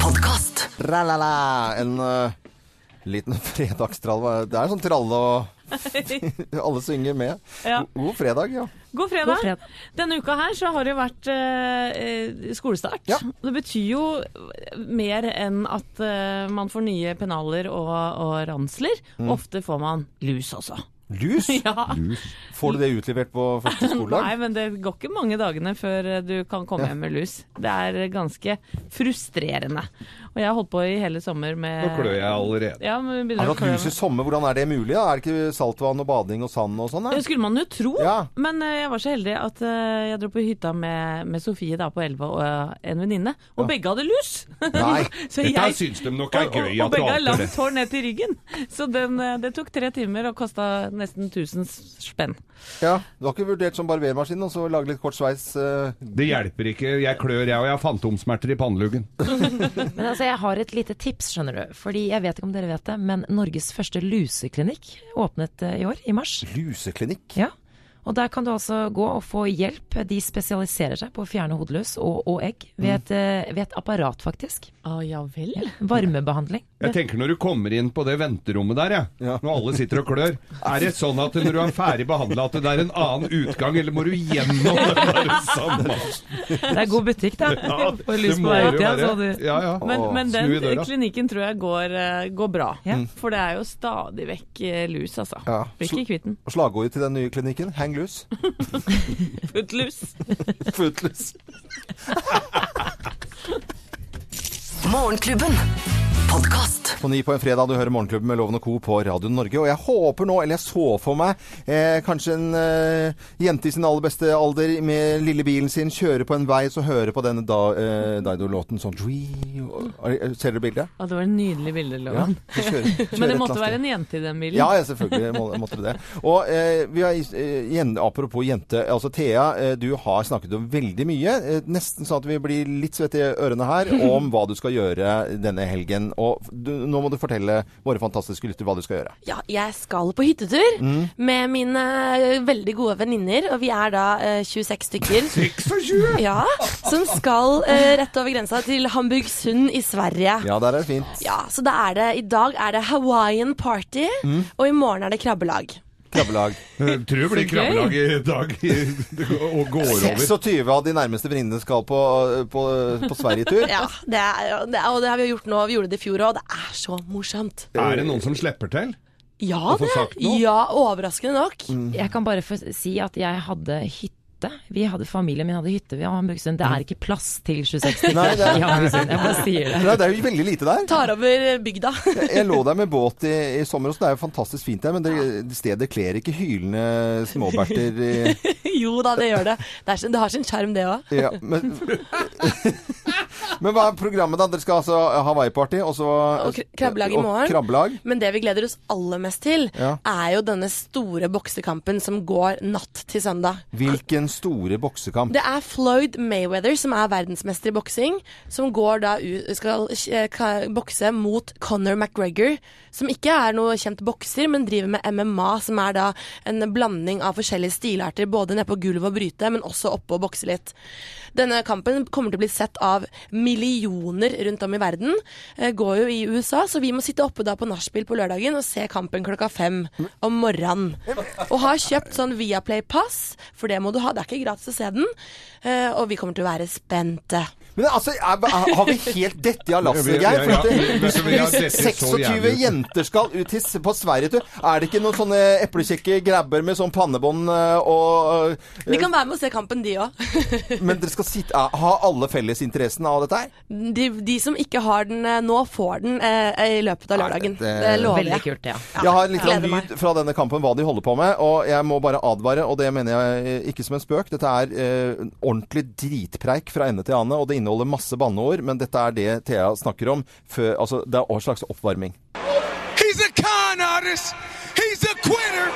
Speaker 6: Podkast.
Speaker 2: Tralala, en eh, liten fredagstrall. Det er sånn tralle og Alle synger med.
Speaker 1: Ja.
Speaker 2: God, god fredag, ja.
Speaker 1: God fredag.
Speaker 5: God fredag.
Speaker 1: Denne uka her så har det jo vært eh, eh, skolestart.
Speaker 2: Ja.
Speaker 1: Det betyr jo mer enn at eh, man får nye pennaler og, og ransler. Ofte får man lus også.
Speaker 2: Lus?
Speaker 1: Ja.
Speaker 2: Får du det utlevert på første
Speaker 1: Nei,
Speaker 2: skoledag?
Speaker 1: men det går ikke mange dagene før eh, du kan komme hjem med lus. Det er eh, ganske frustrerende. Og jeg har holdt på i hele sommer med
Speaker 4: Nå klør jeg allerede.
Speaker 1: Ja, men vi begynner
Speaker 2: Har du
Speaker 1: å
Speaker 2: hatt
Speaker 1: klø
Speaker 2: lus i sommer? Hvordan er det mulig? Da? Er det ikke saltvann og bading og sand og sånn? da?
Speaker 1: Det skulle man jo tro,
Speaker 2: Ja.
Speaker 1: men eh, jeg var så heldig at eh, jeg dro på hytta med, med Sofie da på 11 og eh, en venninne, og begge hadde lus!
Speaker 2: Nei.
Speaker 1: så
Speaker 4: Dette syns de nok er
Speaker 1: og, og, og
Speaker 4: gøy at du
Speaker 1: begge har
Speaker 4: hater det.
Speaker 1: langt hår ned til ryggen. Så den, eh, det tok tre timer og kosta nesten 1000 spenn.
Speaker 2: Ja, Du har ikke vurdert som barbermaskin og så lage litt kort sveis? eh,
Speaker 4: Det hjelper ikke. Jeg klør, jeg, og jeg har fantomsmerter i panneluggen.
Speaker 5: Men altså, jeg har et lite tips, skjønner du. Fordi jeg vet ikke om dere vet det, men Norges første luseklinikk åpnet eh, i år, i mars.
Speaker 2: luseklinikk?
Speaker 5: Ja. Og der kan du altså gå og få hjelp. De spesialiserer seg på å fjerne hodeløs og, og egg ved et, eh, ved et apparat, faktisk.
Speaker 1: Å Ah, ja vel?
Speaker 5: Varmebehandling.
Speaker 4: Jeg tenker når du kommer inn på det venterommet der, jeg,
Speaker 2: Ja.
Speaker 4: når alle sitter og klør Er det sånn at når du er ferdig behandla, at det er en annen utgang, eller må du gjennom det der samme?
Speaker 5: Det er god butikk, da.
Speaker 4: det
Speaker 1: lys på
Speaker 4: må
Speaker 1: vei
Speaker 4: jo
Speaker 1: ut igjen,
Speaker 4: være-
Speaker 1: så du-
Speaker 4: Ja, ja.
Speaker 1: Men,
Speaker 2: Åh,
Speaker 1: men
Speaker 4: snu i
Speaker 1: den
Speaker 4: døra.
Speaker 1: klinikken tror jeg går, eh, går bra.
Speaker 5: Ja.
Speaker 1: For det er jo stadig vekk eh, lus, altså.
Speaker 2: Mm. Ja.
Speaker 1: Blir ikke kvitt den.
Speaker 2: Og Slagordet til den nye klinikken? Hang loose.
Speaker 1: Footloose.
Speaker 2: Footloose.
Speaker 6: Morgenklubben. Podkast.
Speaker 2: På ni på en fredag, du hører Morgenklubben med Loven og Co. på Radio Norge. Og jeg håper nå, eller jeg så for meg, eh, kanskje en eh, jente i sin aller beste alder med lille bilen sin kjører på en vei, så hører på denne da, eh, Daido-låten sånn Dream. Er- Ser dere bildet?
Speaker 1: Å, det var et nydelig bilde,
Speaker 2: Ja,
Speaker 1: Loven.
Speaker 2: de kjører- kjører
Speaker 1: Men det
Speaker 2: et
Speaker 1: måtte
Speaker 2: lastebil.
Speaker 1: være en jente i den bilen.
Speaker 2: Ja, ja, selvfølgelig må, måtte det det. Og eh, vi har, eh, igjen, apropos jente, altså Thea, eh, du har snakket om veldig mye, eh, nesten sånn at vi blir litt svette i ørene her, om hva du skal gjøre denne helgen. Og du, nå må du fortelle våre fantastiske lytter hva du skal gjøre.
Speaker 3: Ja, jeg skal på hyttetur
Speaker 2: Mm.
Speaker 3: med mine eh, veldig gode venninner, og vi er da eh, 26 stykker.
Speaker 4: 26?
Speaker 3: Ja, som skal eh, rett over grensa til Hamburgsund i Sverige.
Speaker 2: Ja, der er det fint.
Speaker 3: Ja, så da er det, i dag er det Hawaiian party,
Speaker 4: Mm.
Speaker 3: og i morgen er det krabbelag.
Speaker 2: Krabbelag.
Speaker 4: Jeg Eh, tror det blir
Speaker 3: Så gøy.
Speaker 4: krabbelag i dag og går over.
Speaker 2: 26 av de nærmeste venninnene skal på, på, på Sverigetur.
Speaker 3: Ja, det er, det, er- og det har vi jo gjort nå. Vi gjorde det i fjor òg. Det er så morsomt.
Speaker 4: Er det noen som slipper til?
Speaker 3: Ja,
Speaker 4: Å få
Speaker 3: det.
Speaker 4: sagt noe? Mm.
Speaker 3: Ja, overraskende nok.
Speaker 5: Jeg kan bare få si at jeg hadde hytte. Vi hadde, familien min hadde hytte ved Hamburgsund. sånn, Det er ikke plass til 26 stykker
Speaker 2: Nei, det er-
Speaker 5: i Hamburgsund. Jeg bare sier det.
Speaker 2: Nei, det er jo veldig lite der.
Speaker 3: Tar over bygda.
Speaker 2: Jeg lå der med båt i, i sommer også, det er jo fantastisk fint der, men det, stedet kler ikke hylende småberter. i-
Speaker 3: jo da, det gjør det. Det, er, sin- det har sin sjarm, det òg.
Speaker 2: Ja, men, men hva er programmet da? Dere skal altså ha Hawaii-party, og så
Speaker 3: Og kr- krabbelag i
Speaker 2: og
Speaker 3: morgen.
Speaker 2: krabbelag.
Speaker 3: Men det vi gleder oss aller mest til,
Speaker 2: Ja.
Speaker 3: er jo denne store boksekampen som går natt til søndag.
Speaker 2: Hvilken store boksekamp.
Speaker 3: Det er Floyd Mayweather, som er verdensmester i boksing, som går da u- skal eh, ka- bokse mot Conor McGregor, som ikke er noe kjent bokser, men driver med MMA, som er da en blanding av forskjellige stilarter, både nede på gulvet og bryte, men også oppe og bokse litt. Denne kampen kommer til å bli sett av millioner rundt om i verden. Eh, Går jo i USA, så vi må sitte oppe da på nachspiel på lørdagen og se kampen klokka fem om morgenen. Og har kjøpt sånn Viaplay-pass, for det må du ha. Det er ikke gratis å se den. Eh, Og vi kommer til å være spente.
Speaker 2: Men altså, er, er- har vi helt dette i alassen,
Speaker 4: Ja,
Speaker 2: Geir? For at
Speaker 4: vi- ja,
Speaker 2: det-
Speaker 4: ja,
Speaker 2: Hvis
Speaker 4: vi- vi har dette så jævlig
Speaker 2: 26
Speaker 4: ut.
Speaker 2: jenter skal ut til, s- på Sverigetur, er det ikke noen sånne eplekjekke grabber med sånn pannebånd eh, og
Speaker 3: De kan være med og se kampen, de òg.
Speaker 2: eh, Men dere skal sitte, eh, ha alle fellesinteressen av dette her?
Speaker 3: De, de som ikke har den eh, nå, får den eh, i løpet av
Speaker 2: Nei, det-
Speaker 3: lørdagen. Det lover
Speaker 5: Veldig
Speaker 3: jeg.
Speaker 5: kult, ja.
Speaker 2: Jeg har litt
Speaker 3: gleder meg.
Speaker 2: lyd fra denne kampen, hva de holder på med. Og jeg må bare advare, og det mener jeg eh, ikke som en spøk. Dette er eh, ordentlig dritpreik fra ende til ende, og det inneholder masse banneord. Men dette er det Thea snakker om. Før, altså, det er en slags oppvarming.
Speaker 9: He's a con artist. He's a quitter.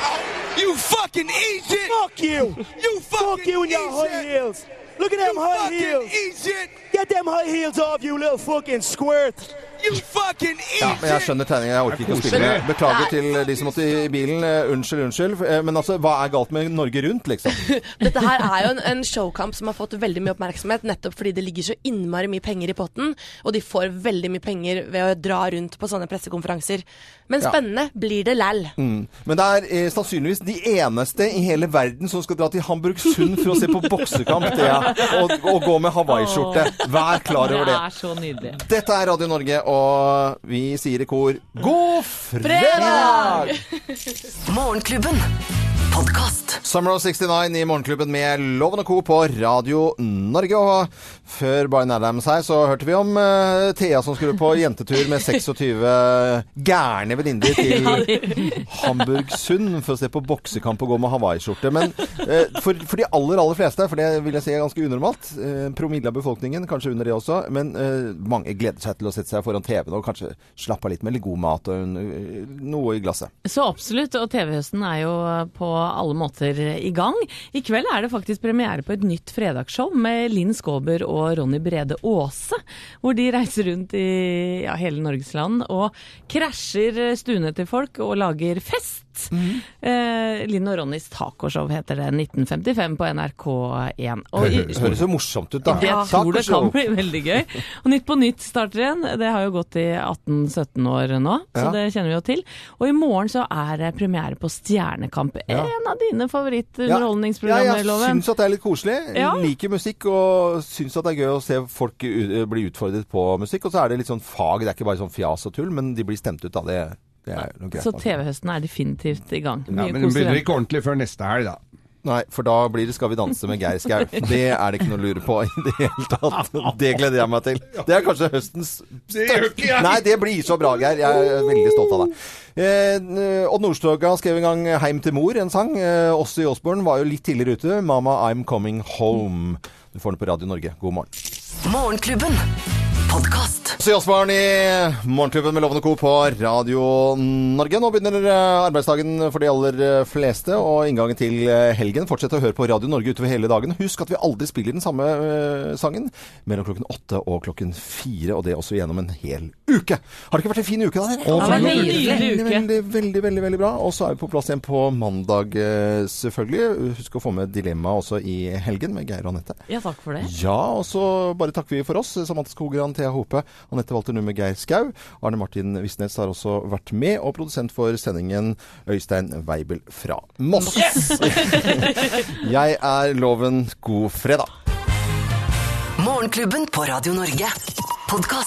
Speaker 9: You fucking Egypt. Fuck you. You fucking Fuck you and your high heels. Look at them high heels. Egypt. Get them high heels off, you little fucking squirt. You fucking
Speaker 2: Ja, men jeg skjønner tegningen. Jeg orker ikke å spille. det. Beklager til de som måtte i bilen. Eh, Unnskyld, unnskyld. Eh, Men altså, hva er galt med Norge Rundt, liksom?
Speaker 3: Dette her er jo en, en showkamp som har fått veldig mye oppmerksomhet, nettopp fordi det ligger så innmari mye penger i potten, og de får veldig mye penger ved å dra rundt på sånne pressekonferanser. Men
Speaker 2: Ja.
Speaker 3: spennende blir det læll.
Speaker 2: Mm. Men det er eh, sannsynligvis de eneste i hele verden som skal dra til Hamburgsund for å se på boksekamp, Thea. Og, og gå med hawaiiskjorte. Vær klar over det.
Speaker 1: Det er så nydelig.
Speaker 2: Dette er Radio Norge, og vi sier i kor God fredag!
Speaker 6: Morgenklubben. Podkast.
Speaker 2: Summer of 69 i Morgenklubben med Loven og Co. på Radio Norge. Og før Bryan Adams her, så hørte vi om eh, Thea som skulle på jentetur med 26 gærne venninner til Hamburgsund for å se på boksekamp og gå med hawaiiskjorte. Men eh, for, for de aller, aller fleste, for det vil jeg si er ganske unormalt, eh, promille av befolkningen, kanskje under det også, men eh, mange gleder seg til å sette seg foran TV-en og kanskje slappe av litt med litt god mat og en, eh, noe i glasset.
Speaker 1: Så absolutt, og TV-høsten er jo på alle måter i gang. I kveld er det faktisk premiere på et nytt fredagsshow med Linn Skåber og Ronny Brede Aase. Hvor de reiser rundt i ja, hele Norges land og krasjer stuene til folk og lager fest. Eh, Linn og Ronnys tacoshow heter det. 1955 på NRK1. Og i,
Speaker 2: Det høres jo morsomt ut, da.
Speaker 1: jeg tror det kan
Speaker 2: Tacoshow.
Speaker 1: bli veldig gøy. Og Nytt på Nytt starter igjen. Det har jo gått i 18-17 år nå, så
Speaker 2: Ja.
Speaker 1: det kjenner vi jo til. Og i morgen så er det premiere på Stjernekamp. En av dine
Speaker 2: Ja,
Speaker 1: favorittunderholdningsprogrammer,
Speaker 2: jeg
Speaker 1: Loven.
Speaker 2: syns at det er litt koselig.
Speaker 1: Ja.
Speaker 2: Liker musikk og syns at det er gøy å se folk u- eh, bli utfordret på musikk. Og så er det litt sånn fag, det er ikke bare sånn fjas og tull, men de blir stemt ut av det. Det er noe greit. altså.
Speaker 1: Så TV-høsten er definitivt i gang.
Speaker 4: Ja,
Speaker 1: Mye
Speaker 4: men den
Speaker 1: koselig.
Speaker 4: begynner ikke ordentlig før neste helg, da.
Speaker 2: Nei, for da blir det 'Skal vi danse' med Geir Skau. Det er det ikke noe å lure på i det hele tatt. Det gleder jeg meg til. Det er kanskje høstens
Speaker 4: Det gjør ikke jeg.
Speaker 2: Nei, det blir så bra, Geir. Jeg er veldig stolt av deg. Eh, Odd Nordstoga skrev en gang 'Heim til mor', en sang. Eh, Åse Jåsborn var jo litt tidligere ute. 'Mama, I'm coming home'. Du får den på Radio Norge. God morgen.
Speaker 6: Morgenklubben. Podkast.
Speaker 2: Så Jåsborn i Morgenklubben med Lovende Co. på Radio Norge. Nå begynner eh, arbeidsdagen for de aller eh, fleste, og inngangen til eh, helgen. Fortsett å høre på Radio Norge utover hele dagen. Husk at vi aldri spiller den samme eh, sangen mellom klokken åtte og klokken fire, og det også gjennom en hel uke. Har det ikke vært en fin uke, da? dere?
Speaker 1: det var en nydelig
Speaker 2: Veldig,
Speaker 1: uke.
Speaker 2: veldig, veldig, veldig, veldig bra. Og så er vi på plass igjen på mandag, eh, selvfølgelig. Husk å få med dilemma også i helgen med Geir og Anette.
Speaker 1: Ja, takk for det.
Speaker 2: Ja, og så bare takker vi for oss. Samantha Skogran, Thea Hope, Anette Walter Numme, Geir Skau. Arne Martin Visnes har også vært med, og produsent for sendingen Øystein Weibel fra Moss. Jeg er Loven. God fredag.
Speaker 6: Morgenklubben på Radio Norge. Podkast.